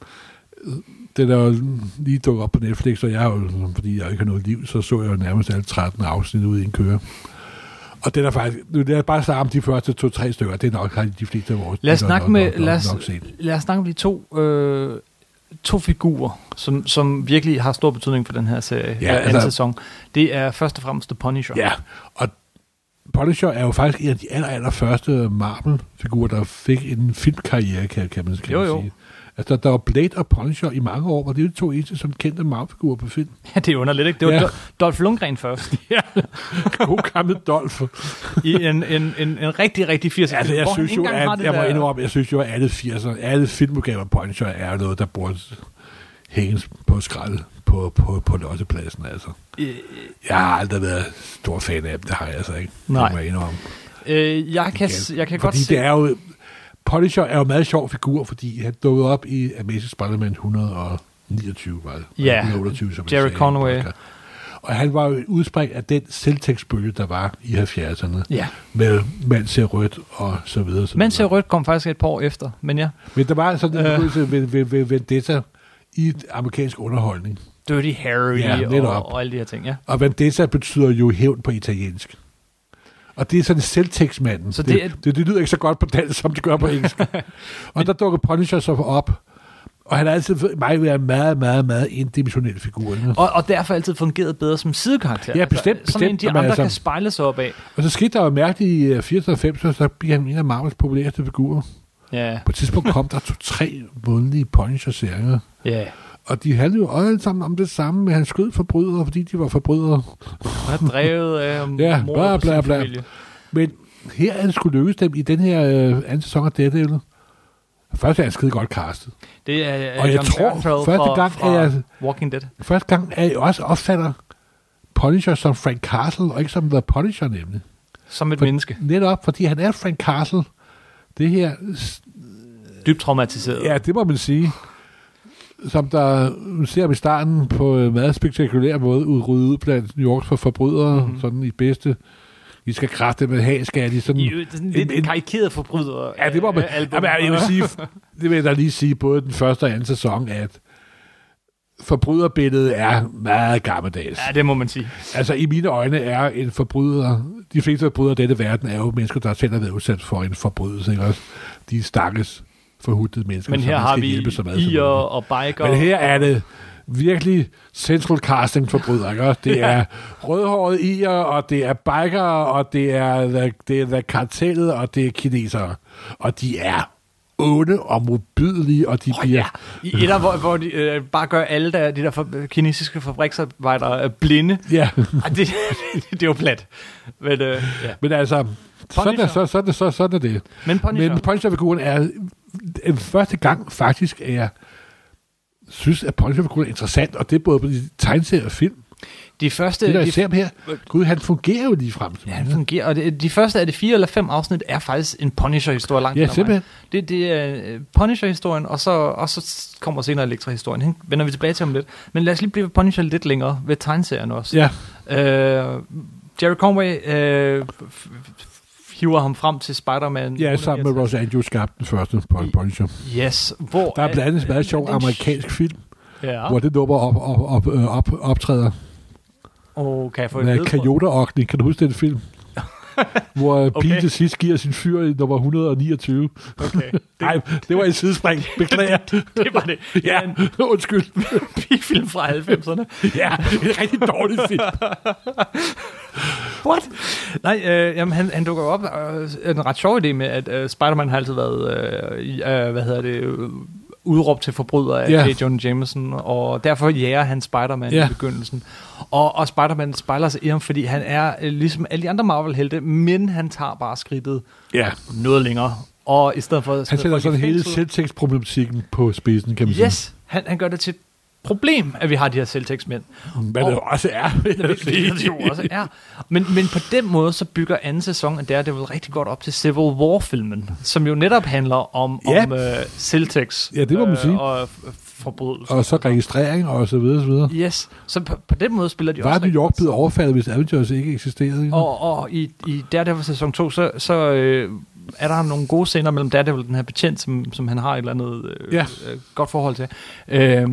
S2: den er jo lige dukket op på Netflix, og jeg er jo, sådan, fordi jeg ikke har noget liv, så så jeg jo nærmest alle 13 afsnit ud i en køre. Og den er faktisk, nu lad os bare snakke om de første to-tre stykker, det er nok har de fleste af vores.
S1: Lad os
S2: det er nok-
S1: snakke med,
S2: nok- nok-
S1: lad os,
S2: nok set.
S1: lad os snakke om de to, øh, to figurer, som, som virkelig har stor betydning for den her serie,
S2: Ja,
S1: ja, anden
S2: altså-
S1: sæson. Det er først og fremmest The Punisher.
S2: Ja, og Punisher er jo faktisk en af de aller, aller første Marvel-figurer, der fik en filmkarriere, kan, kan man, kan
S1: Jo,
S2: man
S1: jo.
S2: sige. Altså, der var Blade og Punisher i mange år, og det er jo de to eneste som kendte Marvel-figurer på film.
S1: Ja, det er underligt, ikke? Det var
S2: Ja.
S1: ja. Dolph Lundgren først,
S2: God gammel Dolph.
S1: i en, en, en, en rigtig, rigtig 80'er.
S2: Altså, jeg
S1: hvor han
S2: synes
S1: ikke
S2: jo,
S1: engang har
S2: at,
S1: det
S2: jeg må
S1: der-
S2: indrømme, jeg synes jo, at alle 80'er, alle filmudgaver af Punisher er noget, der burde hænges på skrald på på, på, på lossepladsen, altså.
S1: øh,
S2: Jeg har aldrig været stor fan af dem, det har jeg altså ikke.
S1: Nej.
S2: Det må jeg indrømme.
S1: Øh, jeg kan,
S2: Ja,
S1: jeg kan
S2: fordi
S1: godt se...
S2: det er jo... Punisher er jo en meget sjov figur, fordi han dukkede op i Amazing Spider-Man 129, var det?
S1: Ja,
S2: 128, som jeg
S1: Jerry
S2: sagde i
S1: Conway.
S2: podcast. Og han var jo et udspring af den selvtægtsbølge, der var i 70'erne.
S1: Ja.
S2: Med mand ser rødt og så videre. Så
S1: Mens
S2: videre.
S1: jeg rødt kom faktisk et par år efter, men ja.
S2: Men der var sådan en
S1: Øh.
S2: begyndelse ved, ved, ved Vendetta i amerikansk underholdning.
S1: Dirty Harry
S2: Ja,
S1: og,
S2: netop.
S1: og alle de her ting, ja.
S2: Og Vendetta betyder jo hævn på italiensk. Og det er sådan selvtægtsmanden.
S1: Så
S2: Så
S1: det
S2: det,
S1: er-
S2: det, det, det lyder ikke så godt på dansk, som det gør på engelsk. og der dukker Punisher så op, og han har altid for mig været en meget, meget, meget indimensionel figur. ikke?
S1: Og, og derfor altid fungeret bedre som sidekarakter.
S2: Ja, bestemt,
S1: altså, Sådan en,
S2: bestemt,
S1: de
S2: men
S1: andre
S2: altså-
S1: kan spejle sig op af.
S2: Og så skete der jo mærkeligt i øh, 80'erne og 90'erne, så bliver han en af Marvels populæreste figurer.
S1: Ja,
S2: På et tidspunkt kom der to-tre månedlige Punisher-serier.
S1: ja.
S2: Og de handlede jo alle sammen om det samme, men han skød forbrydere, fordi de var forbrydere.
S1: Og er drevet af
S2: Ja,
S1: mor
S2: bla,
S1: på sin
S2: bla, bla.
S1: familie.
S2: Men her er det skulle lykkes dem i den her øh, anden sæson af Daredevil. Først er han skide godt castet.
S1: Det er
S2: Og jeg
S1: John
S2: tror,
S1: Bernthal
S2: første
S1: fra,
S2: gang,
S1: fra
S2: at jeg-
S1: Walking Dead.
S2: Første gang er jeg også opfatter Punisher som Frank Castle, og ikke som The Punisher nemlig.
S1: Som et
S2: For-
S1: menneske.
S2: Netop, fordi han er Frank Castle. Det her, s-
S1: Dybt traumatiseret.
S2: ja, det må man sige, som der ser vi i starten på en meget spektakulær måde udryddet ud blandt New Yorks for forbrydere,
S1: Mhm.
S2: mm-hmm. sådan i bedste. I skal kræfte med have, skal de sådan...
S1: I øvrigt sådan lidt
S2: En- en-
S1: karikeret forbryder.
S2: Ja, det var man.
S1: øh, album.
S2: Jamen, jeg vil sige, det vil jeg da lige sige, både den første og anden sæson, at forbryderbilledet er meget gammeldags.
S1: Ja, det må man sige.
S2: Altså, i mine øjne er en forbryder, de fleste forbrydere i denne verden, er jo mennesker, der selv har været udsat for en forbrydelse, ikke også? De stakkes forhudtede mennesker,
S1: Men her
S2: som
S1: har
S2: skal
S1: vi
S2: hjælpe så meget som
S1: ier
S2: muligt.
S1: og biker.
S2: Men her er det virkelig central casting forbryder, ikke også? Det er rødhårede ier, og det er bikere, og det er, the- det er the kartellet, og det er kinesere. Og de er onde og modbydelige, og de oh, bliver...
S1: Ja, i et af, hvor, hvor de øh, bare gør alle der, de der for, kinesiske fabriksarbejdere øh, blinde.
S2: Ja.
S1: Ej, det, det, det er jo plat. Men, øh, ja.
S2: Men altså, sådan
S1: Punisher.
S2: er, så, sådan, er- så, sådan er det.
S1: Men Punisher.
S2: Men Punisher-figuren er den første gang faktisk, at jeg synes, at Punisher-figuren er interessant, og det er både i tegneserier og film.
S1: de første,
S2: Det, der jeg
S1: de,
S2: ser ham her, gud, han fungerer jo ligefrem. som
S1: Øh, ja,
S2: han
S1: han
S2: er.
S1: fungerer, og det, de første af de fire eller fem afsnit er faktisk en Punisher-historie langt
S2: Ja,
S1: hen ad vejen.
S2: simpelthen.
S1: Det, det er øh, Punisher-historien, og så, og så kommer senere Elektra-historien. Hende vender vi tilbage til om lidt. Men lad os lige blive ved Punisher lidt længere ved tegneserien også.
S2: Ja,
S1: Øh, Jerry Conway øh, f- f- f- hiver ham frem til Spider-Man.
S2: Ja, sammen med Ross Andrews skabte den første Pol- Punisher.
S1: Yes, hvor...
S2: Der er blandt andet en meget sjov
S1: det er en-
S2: amerikansk film,
S1: Ja,
S2: hvor det nummer op, op, op, øh, op, optræder
S1: og kan jeg få et
S2: med
S1: ledtråd?
S2: Coyote Kan du huske den film? hvor okay. Pete til sidst giver sin fyr i nummer 129.
S1: Okay.
S2: Nej, det var en sidespring. Beklager.
S1: Det var det.
S2: ja,
S1: En
S2: undskyld.
S1: pigefilm fra 90'erne.
S2: ja, en rigtig dårlig film.
S1: What? Nej, øh, jamen, han, han dukker jo op. Øh, en ret sjov idé med, at øh, Spider-Man har altid været, øh, i- øh, hvad hedder det, øh, udråbt til forbryder af
S2: Ja.
S1: yeah. John Jameson, og derfor jager han Spider-Man yeah.
S2: Ja.
S1: i begyndelsen. Og, og Spider-Man spejler sig i ham, fordi han er øh, ligesom alle de andre Marvel-helte, men han tager bare skridtet
S2: ja,
S1: noget længere. Og i stedet for...
S2: han sætter
S1: folk i
S2: sådan hele
S1: fængsel-
S2: selvtægtsproblematikken på spidsen, kan man sige.
S1: Yes, han, han gør det til et problem, at vi har de her selvtægtsmænd.
S2: Hvad det også er. vil jeg sige.
S1: Hvilket det jo også er. Men, men på den måde, så bygger anden sæson af Daredevil rigtig godt op til Civil War-filmen, som jo netop handler om,
S2: Ja.
S1: om øh, selvtægts
S2: Ja, det må man sige.
S1: og f- forbrydelser.
S2: Og så registrering og så videre, så videre.
S1: Yes, så på, på den måde spiller de
S2: Var
S1: også
S2: New
S1: rigtig
S2: York
S1: godt
S2: blevet overfaldet, hvis Avengers ikke eksisterede? ikke?
S1: Og, og i, i Daredevil sæson 2, så, så øh, er der nogle gode scener mellem Daredevil, den her betjent, som, som han har et eller andet øh,
S2: Ja.
S1: øh, godt forhold til, øh,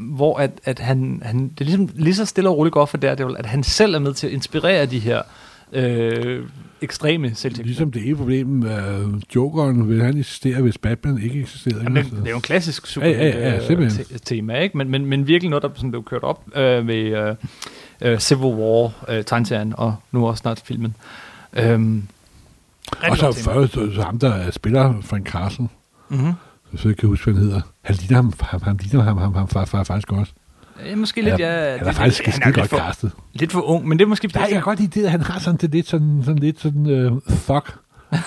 S1: hvor at, at han, han, det er ligesom lige så stille og roligt godt for Daredevil, at han selv er med til at inspirere de her øh, ekstreme selvtægter.
S2: Ligesom det ene problem, uh, Jokeren, vil han eksistere, hvis Batman ikke eksisterede? Altså.
S1: Jamen, det,
S2: ikke?
S1: det er jo en klassisk super
S2: Ja, ja, ja,
S1: øh,
S2: simpelthen.
S1: te- tema, ikke? Men, men, men virkelig noget, der sådan blev kørt op øh, ved øh, øh, Civil War, øh, tegneserien, og nu også snart filmen. Øhm, rigtig
S2: og
S1: godt
S2: så
S1: tema.
S2: først så, så ham, der er spiller Frank Castle,
S1: Mhm.
S2: så jeg ikke kan huske, hvad han hedder. Han ligner ham, ham, ham, ligner ham, ham, ham, far, far, faktisk også.
S1: Ja, måske lidt, ja.
S2: han er, han er
S1: lidt-
S2: faktisk
S1: han
S2: skide
S1: lidt
S2: godt
S1: for,
S2: castet.
S1: lidt for ung, men det er måske...
S2: Der, jeg kan godt lide det, at han har sådan det lidt sådan, sådan lidt sådan uh, thug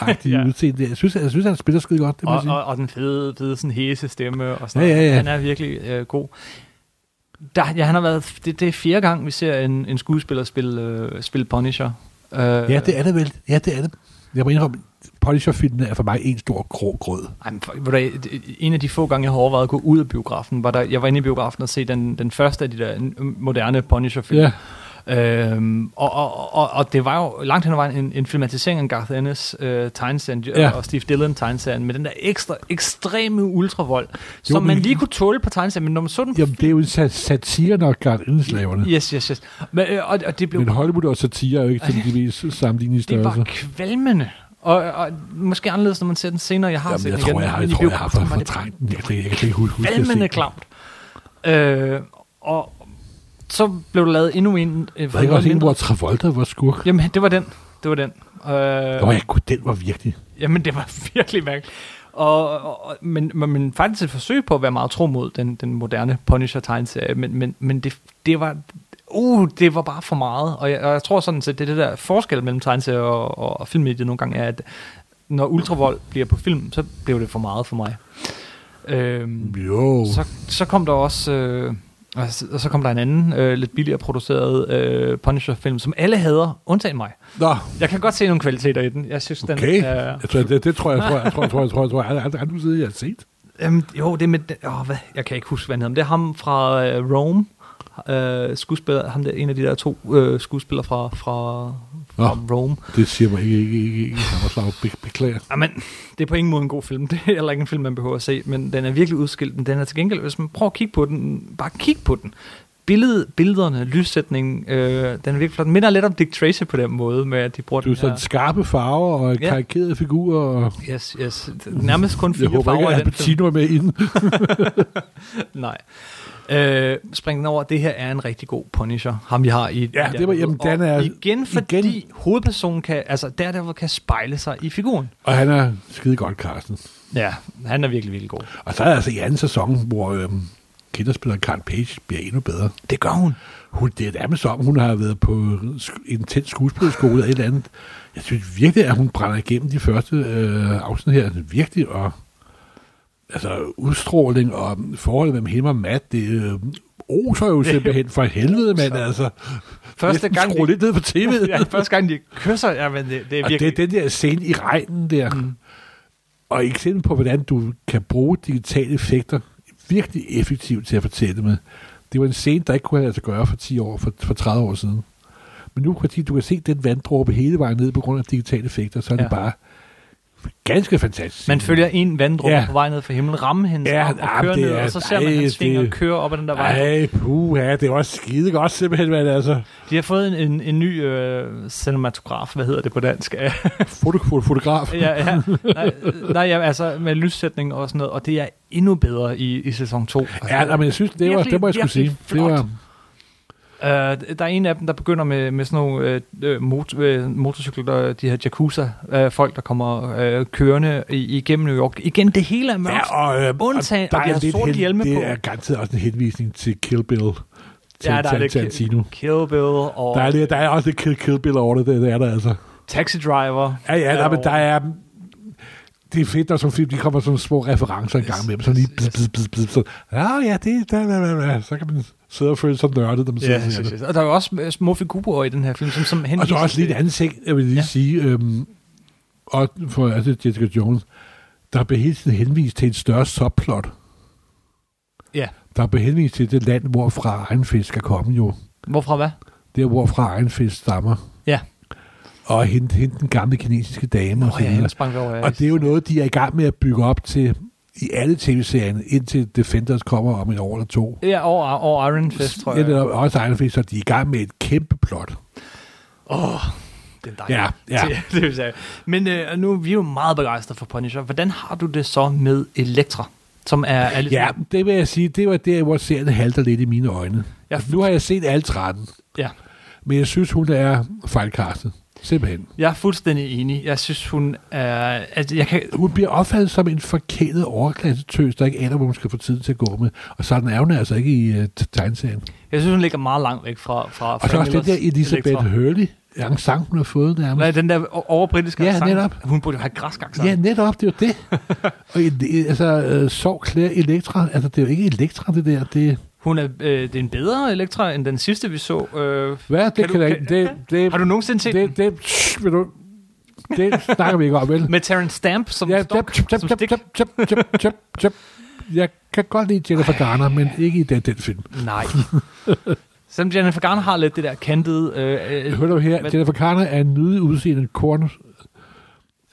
S1: Ja.
S2: ja. udseende. Jeg synes, jeg synes, han spiller skide godt, det må
S1: og,
S2: jeg sige.
S1: og, og den fede, fede sådan hæse stemme og sådan
S2: Ja, ja,
S1: noget.
S2: ja.
S1: Han er virkelig øh, god. der, ja, han har været, det, det er fjerde gang, vi ser en, en skuespiller spille, øh, spille Punisher. Øh,
S2: Ja, det er det vel. Ja, det er det. Jeg må indrømme, Punisher-filmen er for mig en stor grå grød.
S1: Ej, men, for- ved du hvad, det- en af de få gange, jeg har overvejet at gå ud af biografen, var der, jeg var inde i biografen og se den, den første af de der øh, moderne Punisher-film.
S2: Ja.
S1: Øhm, og, og, og, og det var jo langt hen ad vejen en, en filmatisering af Garth Ennis øh, tegnserien
S2: Ja.
S1: ja. og Steve Dillon tegnserien med den der ekstra, ekstreme ultravold, som
S2: men-
S1: man lige kunne tåle på tegnserien, men når man så den...
S2: Jamen, det er jo en sat- satire nok, Garth Indeslaverne.
S1: Yes, yes, yes. Men, øh, og, og det blev
S2: Men Hollywood og satire er jo ikke nødvendigvis sammenlignet i
S1: Det var
S2: størrelse.
S1: kvalmende. Og, og måske anderledes, når man ser den senere. Jeg har
S2: Jamen,
S1: set
S2: jeg
S1: den
S2: tror,
S1: igen.
S2: jeg har,
S1: men
S2: jeg
S1: i
S2: tror, jeg har
S1: biografen
S2: for-
S1: var det
S2: fortrængt den. Jeg kan, jeg kan ikke huske, huske at jeg har
S1: Valmende
S2: set
S1: klamt.
S2: den.
S1: Øh, og så blev der lavet endnu en. Øh,
S2: Var der ikke også en, hvor Travolta var skurk?
S1: Jamen, det var den. Det var den. Øh,
S2: Nå, jeg kunne, den var virkelig.
S1: Jamen, det var virkelig mærkeligt. Og, og, og- men, men, men faktisk et forsøg på at være meget tro mod den, den moderne Punisher-tegnserie, men, men, men det, det var... Uh, det var bare for meget. Og jeg, og jeg tror sådan set, det er det der forskel mellem tegneserie og, og, og filmmediet nogle gange, er, at når ultravold bliver på film, så blev det for meget for mig. Øhm,
S2: Jo.
S1: så, så kom der også... Øh, og så- og så kom der en anden, øh, lidt billigere produceret øh, Punisher-film, som alle hader, undtagen mig.
S2: Nå,
S1: Jeg kan godt se nogle kvaliteter i den. Jeg synes,
S2: okay.
S1: den er...
S2: Jeg tror, det, det tror jeg, tror jeg, tror jeg, tror jeg, tror jeg, tror jeg, aldrig- aldrig- aldrig siden, jeg har set.
S1: Jamen, jo, det er med... Åh, hvad? Jeg kan ikke huske, hvad han hedder. Men det er ham fra øh, Rome. Øh, skuespiller, ham der, en af de der to øh, skuespillere fra, fra, fra Rome.
S2: Det siger mig ikke, ikke, ikke, ikke. Jeg må slag be, beklager.
S1: Jamen, det er på ingen måde en god film. Det er heller ikke en film, man behøver at se, men den er virkelig udskilt. Men den er til gengæld, hvis man prøver at kigge på den, bare kig på den. Billed, billederne, lyssætningen, øh, den er virkelig flot. Den minder lidt om Dick Tracy på den måde, med at de bruger
S2: Du er
S1: den her...
S2: sådan skarpe farver og
S1: Ja.
S2: karikerede figurer. Og
S1: Yes, yes. Nærmest kun
S2: jeg
S1: fire
S2: håber
S1: farver
S2: ikke,
S1: i
S2: at
S1: den film.
S2: Albertino er med inden.
S1: Nej. Øh, spring den over. Det her er en rigtig god Punisher. Ham vi har i...
S2: Ja, det var- jamen,
S1: Og
S2: den er-
S1: Igen, fordi
S2: igen-
S1: igen. hovedpersonen kan... Altså, der der kan spejle sig i figuren.
S2: Og han er skide godt, Carsten.
S1: Ja, han er virkelig, virkelig god.
S2: Og så er der altså i anden sæson, hvor øhm, kinderspilleren Karen Page bliver endnu bedre.
S1: Det gør hun.
S2: Hun, det er nærmest som, hun har været på sk- en tæt skuespillerskole eller et eller andet. Jeg synes virkelig, at hun brænder igennem de første øh, afsnit her. Virkelig, og altså udstråling og forholdet mellem hende og Matt, det øh, oser jo simpelthen for helvede, mand, altså.
S1: Første
S2: Næsten
S1: gang,
S2: Skru
S1: de-
S2: lidt ned på tv'et.
S1: Ja, første gang, de kysser... Ja, men det, det er
S2: Og det
S1: virkelig...
S2: er den der scene i regnen der. Mm. Og eksempel på, hvordan du kan bruge digitale effekter virkelig effektivt til at fortælle med. Det var en scene, der ikke kunne lade sig gøre for 10 år, for, for 30 år siden. Men nu kan du sige, du kan se den vanddråbe hele vejen ned på grund af digitale effekter, så er ja. det
S1: Ja.
S2: bare ganske fantastisk.
S1: Man følger en vanddråbe
S2: Ja.
S1: ja. på vej ned fra himlen, ramme hende
S2: Ja,
S1: ja, og
S2: jamen,
S1: kører
S2: det
S1: ned,
S2: er-
S1: og så ser man
S2: ej,
S1: hans fingre
S2: det-
S1: køre op ad den der vej.
S2: Ej, puha, det var skide godt simpelthen, men altså.
S1: De har fået en, en, en ny øh, cinematograf, hvad hedder det på dansk?
S2: Foto, foto, fotograf. Ja.
S1: ja, ja. Nej, nej ja, altså med lyssætning og sådan noget, og det er endnu bedre i, i sæson 2.
S2: Ja, nej, men jeg synes, det var,
S1: Virkelig,
S2: det må jeg skulle sige.
S1: virkelig
S2: Det
S1: flot.
S2: var,
S1: Øh, der er en af dem, der begynder med, med sådan nogle øh, mot- øh, motorcykler, der, de her Yakuza-folk, der kommer øh, kørende i, igennem New York. Igen, det hele er mørkt.
S2: Ja, og, øh,
S1: Undtagen, og de har
S2: lidt
S1: sorte hjelme
S2: det
S1: på.
S2: er garanteret også en henvisning til Kill Bill. Til,
S1: Ja,
S2: ja,
S1: der er
S2: til,
S1: lidt
S2: Tarantino.
S1: Kill Bill og
S2: Der er, lidt, der er også lidt Kill, Kill Bill over det, det, det er der altså.
S1: Taxi Driver.
S2: Ja, ja, der, men der
S1: og-
S2: er... Det er fedt, når sådan film, de kommer sådan små referencer en gang imellem, sådan lige bid, bid, bid, bid, så, ja, ja, det, der, der, der, der, så kan man sidde og føle sig nørdet, når man sidder
S1: Ja,
S2: og ser
S1: yes, yes,
S2: det.
S1: yes. Og der er jo også øh, små figurer i den her film, som, som
S2: Og så
S1: henviser
S2: også lige
S1: til-
S2: en anden ting, jeg vil lige ja.
S1: Ja.
S2: sige, øhm, og for altså Jessica Jones, der bliver hele tiden henvist til et større subplot,
S1: Ja.
S2: der bliver henvist til det land, hvorfra Reinfeldt skal komme jo.
S1: Hvorfra hvad?
S2: der hvorfra Reinfeldt stammer,
S1: Ja.
S2: og hente, hente den gamle kinesiske dame og
S1: Oh,
S2: så
S1: ja,
S2: videre.
S1: jeg sprang vi over. ja.
S2: Og det er jo noget, de er i gang med at bygge op til i alle tv-serierne, indtil Defenders kommer om en år eller to.
S1: Ja, over, over Iron Fist, tror jeg.
S2: Eller også Reinfeldt, så de er i gang med et kæmpe plot.
S1: Åh, oh, det er dejligt.
S2: Ja, ja.
S1: Det, det vil sige. Men øh, nu vi er vi jo meget begejstrede for Punisher. Hvordan har du det så med Elektra? Som er, er lidt,
S2: Ja, det vil jeg sige, det var der, hvor serien halter lidt i mine øjne.
S1: Ja.
S2: Nu har jeg set alle 13,
S1: ja.
S2: men jeg synes, hun er fejlkastet. Simpelthen.
S1: Jeg er fuldstændig enig. Jeg synes, hun er... Altså, jeg kan,
S2: Hun bliver opfattet som en forkælet overklassetøs, der ikke aner, hvor hun skal få tid til at gå med. Og sådan er hun altså ikke i uh, tegneserien.
S1: jeg synes, hun ligger meget langt væk fra... fra
S2: Og så også den der Elisabeth Hurley, sang hun har fået nærmest.
S1: Nej, den der overbritiske
S2: Ja,
S1: accent.
S2: netop.
S1: Hun burde jo have græsk accent.
S2: Ja, netop, det er jo det. og i- i- altså, øh, Sorg Claire Elektra, altså det er jo ikke Elektra, det der, det
S1: Hun er, øh, det er en bedre Elektra, end den sidste, vi så. Øh,
S2: Hvad? Det
S1: Kan
S2: kan,
S1: du-
S2: kan jeg
S1: kan-
S2: ikke. Det, det,
S1: har du nogensinde set det,
S2: det, det, shh, vil du, det snakker vi ikke om, vel?
S1: med Terrence Stamp som ja,
S2: Ja,
S1: stok?
S2: tjep, tjep,
S1: som
S2: tjep,
S1: stik?
S2: tjep, tjep, tjep, tjep, tjep. Jeg kan godt lide Jennifer Garner, men ikke i den, den film.
S1: Nej. Selvom Jennifer Garner har lidt det der kantede... Øh, øh,
S2: Hør du her,
S1: Men-
S2: Jennifer Garner er en nydelig udseende korn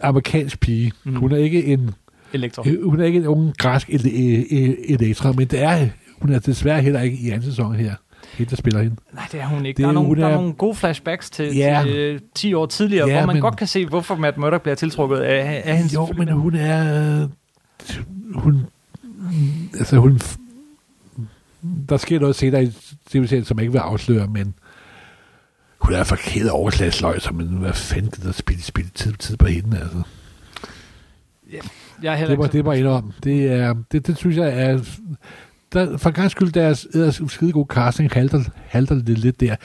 S2: amerikansk pige.
S1: Mm.
S2: Hun er ikke en
S1: Elektra.
S2: Øh, Hun er ikke en ung græsk ele- øh, øh, elektra, men det er, hun er desværre heller ikke i anden sæson her. Hende, der spiller hende.
S1: Nej, det er hun ikke.
S2: Det
S1: der, er
S2: er
S1: nogle,
S2: hun
S1: der er
S2: er-
S1: nogle gode flashbacks til,
S2: Ja.
S1: til øh, 10 år tidligere,
S2: Ja,
S1: hvor man
S2: men-
S1: godt kan se, hvorfor Matt Murdock bliver tiltrukket af, af hendes
S2: Jo,
S1: film.
S2: men hun er... Hun... Altså, hun... Der sker noget senere i tv-serien, som jeg ikke vil afsløre, men hun er forkert overslagsløg, så men hvad fanden gider der spille, spille tid, tid på hende, altså.
S1: Jeg er heller
S2: Det var,
S1: ikke så-
S2: det var en om. Det, er, det, det synes jeg er... Der, for en gang skyld, deres, deres skide gode casting halter, halter lidt, lidt der.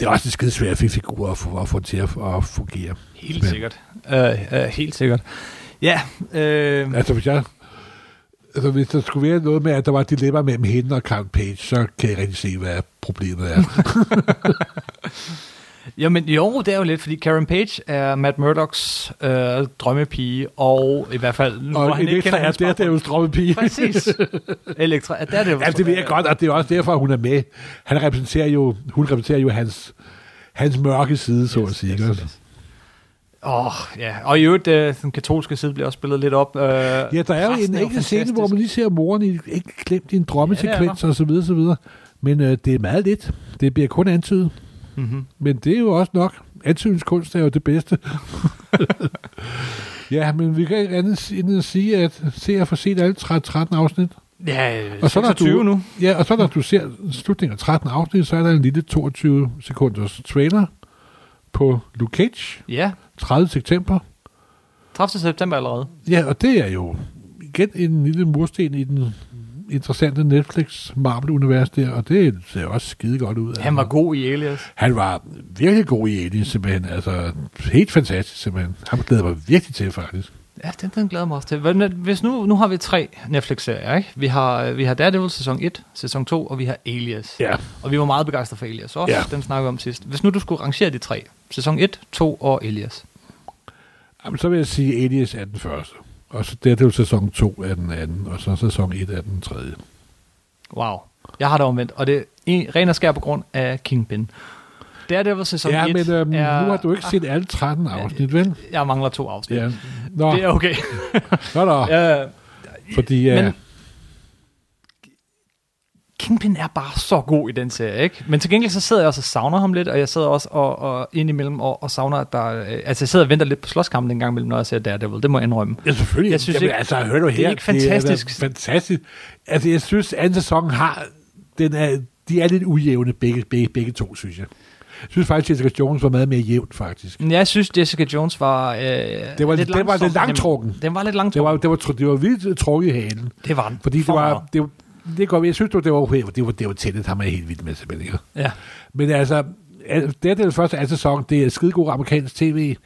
S2: Det er også en skide svær figur at få, at få til at, at fungere.
S1: Helt sikkert. Øh, øh, helt sikkert. Ja, øh,
S2: Altså, hvis jeg... Altså, hvis der skulle være noget med, at der var et dilemma mellem hende og Karen Page, så kan jeg rigtig se, hvad problemet er.
S1: jamen jo, det er jo lidt, fordi Karen Page er Matt Murdocks øh, drømmepige, og i hvert fald, nu, hvor
S2: og
S1: han ikke
S2: Elektra
S1: kender
S2: er
S1: hendes
S2: der, der er jo stroppepige.
S1: Præcis. Elektra, ja, der er det jo.
S2: Ja, Altså, det ved jeg godt, og det er også derfor, hun er med. Han repræsenterer jo, hun repræsenterer jo hans, hans mørke side, så at sige. ikke også?
S1: Åh, oh, ja. Og i øvrigt, øh, den katolske side bliver også spillet lidt op. Øh, ja,
S2: Ja, der er jo en enkelt scene, hvor man lige ser moren i, ikke klemt i
S1: Ja,
S2: en
S1: det
S2: drømmesekvens og så videre, så videre. Men øh, det er meget lidt. Det bliver kun antydet.
S1: Mm-hmm.
S2: Men det er jo også nok. Antydningskunst er jo det bedste. ja, men vi kan ikke andet s- end at sige, at se og få set alle 13 13 afsnit.
S1: Ja, øh,
S2: Og så er der
S1: 26
S2: du-
S1: nu.
S2: Ja, og så når du ser slutningen af 13 afsnit, så er der en lille 22 sekunders trailer på Luke Cage,
S1: Ja,
S2: 30 september.
S1: 30. september allerede.
S2: Ja, og det er jo igen en lille mursten i den interessante Netflix Marvel-univers der, og det ser også skide godt ud. Altså,
S1: Han var god i Alias.
S2: han var virkelig god i Alien, simpelthen. Altså, helt fantastisk, simpelthen. Han glæder jeg mig virkelig til, faktisk.
S1: Ja, den, den glæder jeg mig også til. Hvad- Hvis nu, nu har vi tre Netflix-serier, ikke? Vi har, øh, vi har Daredevil sæson 1, sæson 2, og vi har Alias.
S2: Ja.
S1: Og vi var meget begejstrede for Alias også.
S2: Ja.
S1: Den snakker vi om sidst. Hvis nu du skulle rangere de tre, sæson 1, 2 og Alias.
S2: Jamen, så vil jeg sige, at Alias er den første. Og så det er jo sæson 2 af den anden, og så sæson 1 af den tredje.
S1: Wow. Jeg har det omvendt, og det er en- ren og skær på grund af Kingpin. Daredevil sæson
S2: ja,
S1: 1
S2: men øhm,
S1: er...
S2: nu har du ikke set alle 13 afsnit, vel?
S1: Jeg mangler to afsnit.
S2: Ja. Nå,
S1: Det er okay. Øh,
S2: nå, nå.
S1: ja.
S2: Fordi, øh, ja,
S1: Men- Kingpin er bare så god i den serie, ikke? Men til gengæld så sidder jeg også og savner ham lidt, og jeg sidder også og, og indimellem og, og savner, at der... Øh, altså, jeg sidder og venter lidt på slåskampen en gang imellem, når jeg ser Daredevil. Det må jeg indrømme.
S2: Ja, selvfølgelig.
S1: Jeg synes
S2: Jamen,
S1: ikke-
S2: altså, hør du her.
S1: det er ikke fantastisk.
S2: Det er da fantastisk. Altså, jeg synes, anden sæson har... Den er, de er lidt ujævne, begge, begge, begge to, synes jeg. Jeg synes faktisk, at Jessica Jones var meget mere jævnt, faktisk.
S1: Men jeg synes, Jessica Jones var... Øh,
S2: Det var- den var
S1: langsom.
S2: lidt langtrukken.
S1: Den, den var lidt
S2: Det
S1: langtrukken.
S2: var, det var, tr- det var vildt øh, trukket i halen.
S1: Det var den.
S2: Fordi det
S1: For
S2: var...
S1: meget.
S2: Det, var- det går, jeg synes, det var okay. Det var, det var tættet, ham er jeg helt vild med, simpelthen. ikke?
S1: Ja.
S2: Men altså, al- det er den første anden sæson. Det er skidegod amerikansk tv.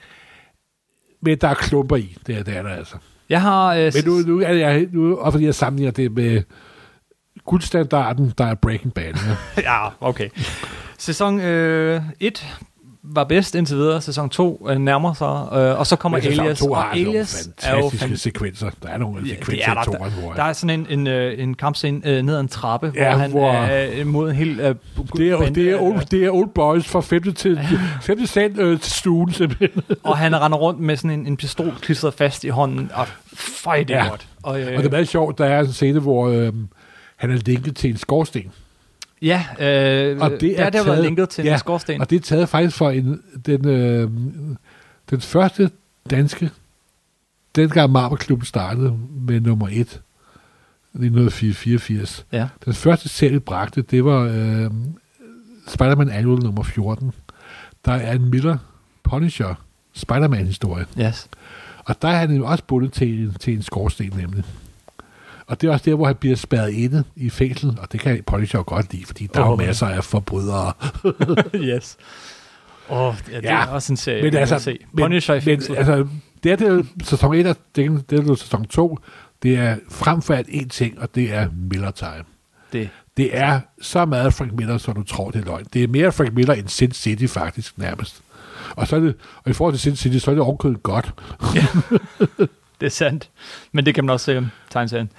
S2: Men der er klumper i. Det er det, er der altså.
S1: Jeg har... Øh,
S2: Men nu, nu er jeg, nu, og fordi jeg sammenligner det med guldstandarden, der er Breaking Bad. Ja.
S1: ja, okay. Sæson øh, 1 var bedst indtil videre. Sæson 2 øh, nærmer sig. Øh, og så kommer
S2: Men sæson
S1: Alias.
S2: to har
S1: og
S2: altså nogle
S1: Alias er jo
S2: fantastiske sekvenser. Der er nogle
S1: Ja, det
S2: sekvenser
S1: er
S2: i
S1: der.
S2: toeren, hvor
S1: Der er sådan en, en, øh, en kampscene øh, ned ad en trappe,
S2: Ja,
S1: hvor han
S2: hvor-
S1: er øh, mod en helt... Øh,
S2: det er, jo- det, er
S1: øh,
S2: old, det er old boys fra 5. til, 5. cent øh, til stuen, simpelthen.
S1: Og han render rundt med sådan en, en pistol klistret fast i hånden, og fej, det er
S2: Ja.
S1: godt. Og, øh,
S2: Og det er meget sjovt, der er en scene, hvor øh, han er linket til en skorsten.
S1: ja, øh,
S2: og
S1: og
S2: det
S1: det
S2: er
S1: er der været
S2: taget-
S1: linket til ja,
S2: ja,
S1: en skorsten.
S2: Og det er taget faktisk fra en, den, øh, den første danske, dengang Marberklubben startede med nummer 1, 1984.
S1: Ja.
S2: Den første serie bragte, det var øh, Spider-Man Annual nummer 14. Der er en Miller Punisher Spider-Man-historie.
S1: Yes.
S2: Og der er han jo også bundet til, en- til en skorsten nemlig. Og det er også der, hvor han bliver spærret inde i fængsel, og det kan Punisher jo godt lide, fordi der er jo
S1: Åh.
S2: masser af forbrydere.
S1: yes. Og ja, det
S2: Ja,
S1: er også en serie,
S2: Men altså,
S1: se.
S2: men,
S1: Punisher i
S2: men,
S1: fængsel.
S2: altså, det er det sæson 1, og det er det er sæson 2. Det er frem for alt én ting, og det er Miller Time.
S1: det,
S2: Det er så meget Frank Miller, som du tror, det er løgn. Det er mere Frank Miller end Sin City, faktisk, nærmest. Og, så er det, og i forhold til Sin City, så er det ovenkødet godt.
S1: Det er sandt. Men det kan man også se om tegneserien.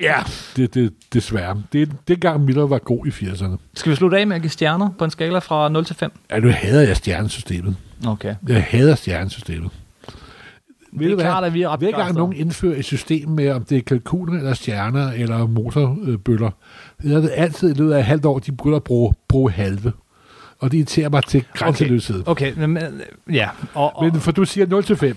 S2: ja, det, det, desværre. Det, det gang Miller var god i 80'erne.
S1: Skal vi slutte af med at give stjerner på en skala fra 0 til 5?
S2: Ja, nu hader jeg stjernesystemet.
S1: Okay.
S2: Jeg hader stjernesystemet. Ved
S1: Det
S2: du
S1: er
S2: hvad?
S1: klart, at vi er ret
S2: Hver gang
S1: begejstrede.
S2: nogen indfører et system med, om det er kalkuner eller stjerner eller motorbøller, så er det altid i løbet af et halvt år, de begynder at bruge, bruge halve. Og det irriterer mig til grænseløshed. Okay.
S1: Okay, men, men, ja. Og, og,
S2: Men for du siger 0-5.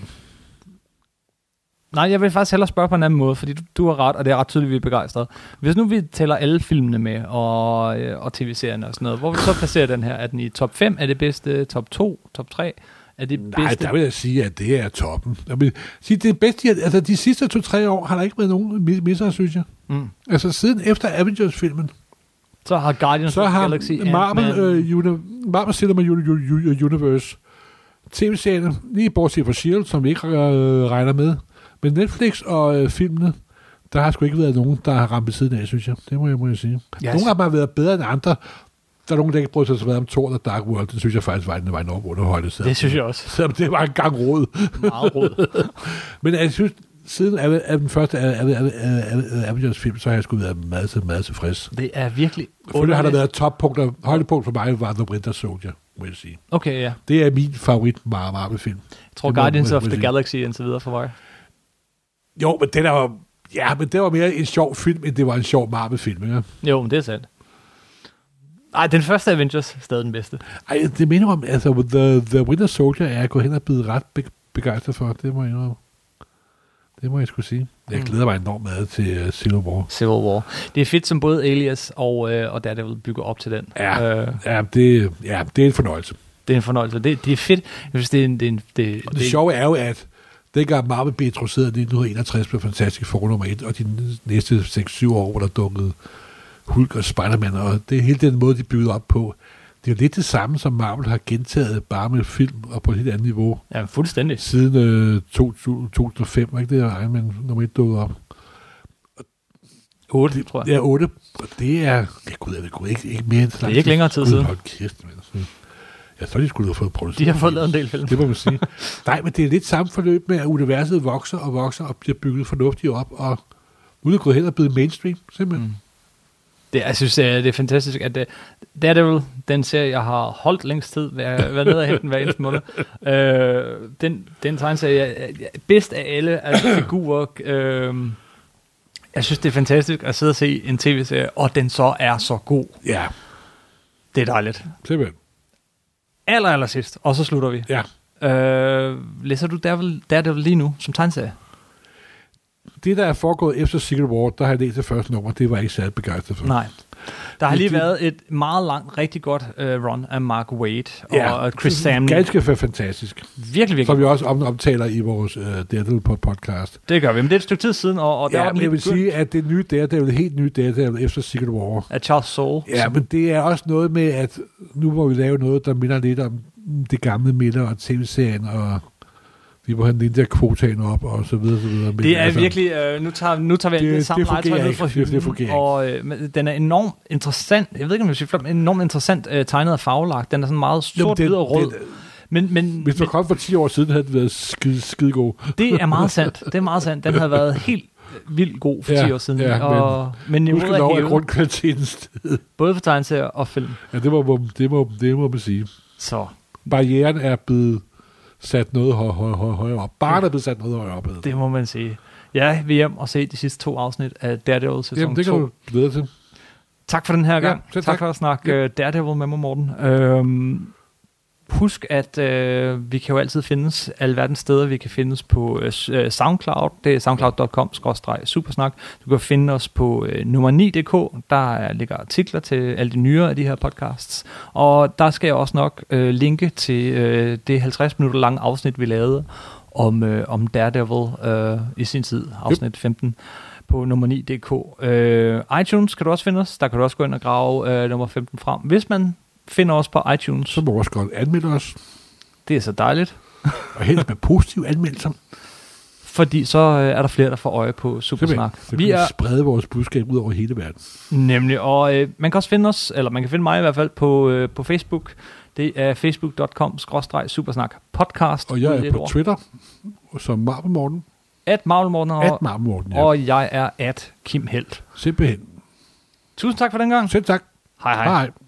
S1: nej, jeg vil faktisk hellere spørge på en anden måde, fordi du, du har ret, og det er ret tydeligt, vi er begejstrede. Hvis nu vi tæller alle filmene med, og, øh, og tv-serierne og sådan noget, hvor vi så placerer den her? Er den i top 5? Er det bedste? Top 2? Top 3? Er det bedste?
S2: Nej, der vil jeg sige, at det er toppen. Jeg vil sige, det bedste, jeg, altså de sidste to-tre år har der ikke været nogen mi- misser, synes jeg.
S1: Mm.
S2: Altså siden efter Avengers-filmen,
S1: Så har Guardians
S2: så
S1: of the
S2: har
S1: Galaxy,
S2: Marvel,
S1: Ant-Man-
S2: øh, uni, Marvel Cinema Uni- Uni- Universe tv-serien, lige bortset fra S.H.I.E.L.D., E som vi ikke øh, regner med, men Netflix og øh, filmene, der har sgu ikke været nogen, der har ramt ved siden af, synes jeg. Det må jeg, må jeg sige. Yes. Nogle af dem har været bedre end andre. Der er nogen, der ikke brød sig så meget om Thor og Dark World. Det synes jeg faktisk var en, var en enorm underholdende. selvom-
S1: Det synes jeg også.
S2: Selvom det var en gang råd.
S1: Meget råd.
S2: Men jeg synes, siden af, af den første af, af, af, af, af Avengers-film, så har jeg sgu været meget, til- meget tilfreds.
S1: Det er virkelig
S2: Selvfølgelig har der
S1: underligt.
S2: været toppunkter. Højdepunkt for mig var The Winter Soldier, må jeg sige.
S1: Okay, ja.
S2: Det er min favorit Mar- Marvel-film.
S1: Jeg tror
S2: Det må-
S1: Guardians
S2: må-
S1: of
S2: må
S1: the
S2: sige.
S1: Galaxy og så videre for mig.
S2: Jo, men den er jo... Ja, men det var mere en sjov film, end det var en sjov Marvel-film. Ikke?
S1: Jo, men det er sandt. Ej, den første Avengers er stadig den bedste.
S2: Ej, det minder om, altså, The, The Winter Soldier er jeg gået hen og blevet ret be- begejstret for. Det må jeg indrømme. Det må jeg skulle sige. Jeg
S1: Mm.
S2: glæder mig enormt meget til uh, Civil War.
S1: Civil War. Det er fedt, som både Alias og, øh, og Daredevil bygger op til den.
S2: Ja.
S1: Øh,
S2: Ja, det, ja, det er en fornøjelse.
S1: det er en fornøjelse. Det, det er fedt. Jeg synes, det er en... Det er en det,
S2: Og det, det sjove er jo, at dengang Marvel blev introduceret i 1961 blev Fantastic Four nummer 1, og de næste 6-7 år, hvor der dukkede Hulk og Spider-Man, og det er hele den måde, de byggede op på. Det er jo lidt det samme, som Marvel har gentaget, bare med film og på et helt andet niveau,
S1: Ja, fuldstændig.
S2: siden øh, 2000 2005, var ikke det, at Iron Man nummer 1 dukkede op?
S1: 8, tror jeg.
S2: Det er 8, og det er, jeg kunne, jeg ved gud, ikke, ikke mere end
S1: Det er ikke længere tid siden.
S2: Hold kæft, man. Jeg tror, de skulle have fået produceret.
S1: De har fået lavet en del film.
S2: Det må man sige. Nej, men det er lidt samme forløb med, at universet vokser og vokser og bliver bygget fornuftigt op, og uden at gå hen og blive mainstream, simpelthen. Mm.
S1: Det, jeg synes, øh, det er fantastisk, at det, Daredevil, den serie, jeg har holdt længst tid, været været nede og hente den hver eneste måned, øh, den, den tegneserie, jeg, jeg- jeg, bedst af alle er figurer, øh, jeg synes, det er fantastisk at sidde og se en tv-serie, og den så er så god.
S2: Ja,
S1: Det er dejligt.
S2: simpelthen.
S1: Aller, aller sidst, og så slutter vi.
S2: Ja.
S1: Øh, læser du Daredevil, Daredevil lige nu, som tegneserie?
S2: Mm. Det, der er foregået efter Secret War, der har jeg læst det første nummer, det var jeg ikke særlig begejstret for.
S1: Nej. Der har
S2: Men
S1: lige
S2: det-
S1: været et meget langt, rigtig godt øh, run af Mark Wade og
S2: Ja.
S1: ja. Chris Samney.
S2: Ganske fa- fantastisk.
S1: Virkelig, virkelig
S2: Som vi også om- omtaler i vores øh, Daredevil på podcast.
S1: Det gør vi, men det er et stykke tid siden, og, og der
S2: Ja,
S1: var den
S2: men
S1: lige
S2: jeg vil
S1: begyndt
S2: sige, at det nye Daredevil, helt nye Daredevil efter Secret War,
S1: af Charles Soule.
S2: Ja, men det er også noget med, at nu må vi lave noget, der minder lidt om det gamle Miller og tv-serien, og vi må have Ninja-kvotaen op, og så videre, så videre. Men altså-
S1: det er virkelig, øh, nu tager, nu tager vi
S2: Det-
S1: det, det
S2: det
S1: samme
S2: fungerer
S1: legetøj ned
S2: ikke.
S1: fra
S2: Det- det
S1: hylden,
S2: fungerer
S1: og
S2: ikke.
S1: øh, men den er enormt interessant, jeg ved ikke, om jeg siger flot, men enormt interessant øh, tegnet og farvelagt, den er sådan meget sort,
S2: det-
S1: hvid og rød,
S2: det-
S1: men, men,
S2: Hvis du kom for 10 år siden, havde det været skide, skide god.
S1: det er meget sandt, det er meget sandt, den har været helt øh, vildt god for
S2: Ja,
S1: 10 år siden,
S2: ja,
S1: og, men, men
S2: Nu skal
S1: niveauet
S2: lov
S1: er
S2: at
S1: hævet,
S2: grundkvaliteten sted.
S1: både for tegneserier og film,
S2: Ja, det må, man- det, må, det må man sige.
S1: så
S2: Barrieren er blevet sat noget hø- hø- hø- højere op. Barnet er blevet sat noget højere op. hedder
S1: det må man sige. Jeg vil hjem og se de sidste to afsnit af Daredevil sæson
S2: Jamen, det kan
S1: 2.
S2: du glæde dig til.
S1: Tak for den her
S2: Ja,
S1: gang.
S2: selv
S1: tak. tak
S2: tak.
S1: for at snakke ja. Daredevil med mig, Morten. Øhm, husk, at øh, vi kan jo altid findes alverdens steder. Vi kan findes på øh, s- øh, SoundCloud. Det er soundcloud.com-supersnak. Du kan finde os på øh, nummer9.dk. Der er- ligger artikler til alle de nyere af de her podcasts. Og der skal jeg også nok øh, linke til øh, det 50 minutter lange afsnit, vi lavede om, øh, om Daredevil øh, i sin tid, afsnit 15 på nummer 9.dk. Øh, iTunes kan du også finde os. Der kan du også gå ind og grave øh, nummer 15 frem. Hvis man finder os på iTunes,
S2: Så må du også godt anmelde os.
S1: det er så dejligt.
S2: Og helst med positive anmeldelser.
S1: fordi så øh, er der flere, der får øje på Supersnak.
S2: Så kan vi er... sprede vores budskab ud over hele verden.
S1: Nemlig, og øh, man kan også finde os, eller man kan finde mig i hvert fald på, øh, på Facebook. Det er facebook.com-supersnak-podcast.
S2: Og jeg er på Twitter som Marvel Morten.
S1: At Marvel Morten,
S2: At
S1: og,
S2: Marvel Morten, ja.
S1: og jeg er at Kim Helt.
S2: Simpelthen.
S1: Tusind tak for den gang.
S2: Selv tak.
S1: Hej hej.
S2: Hej.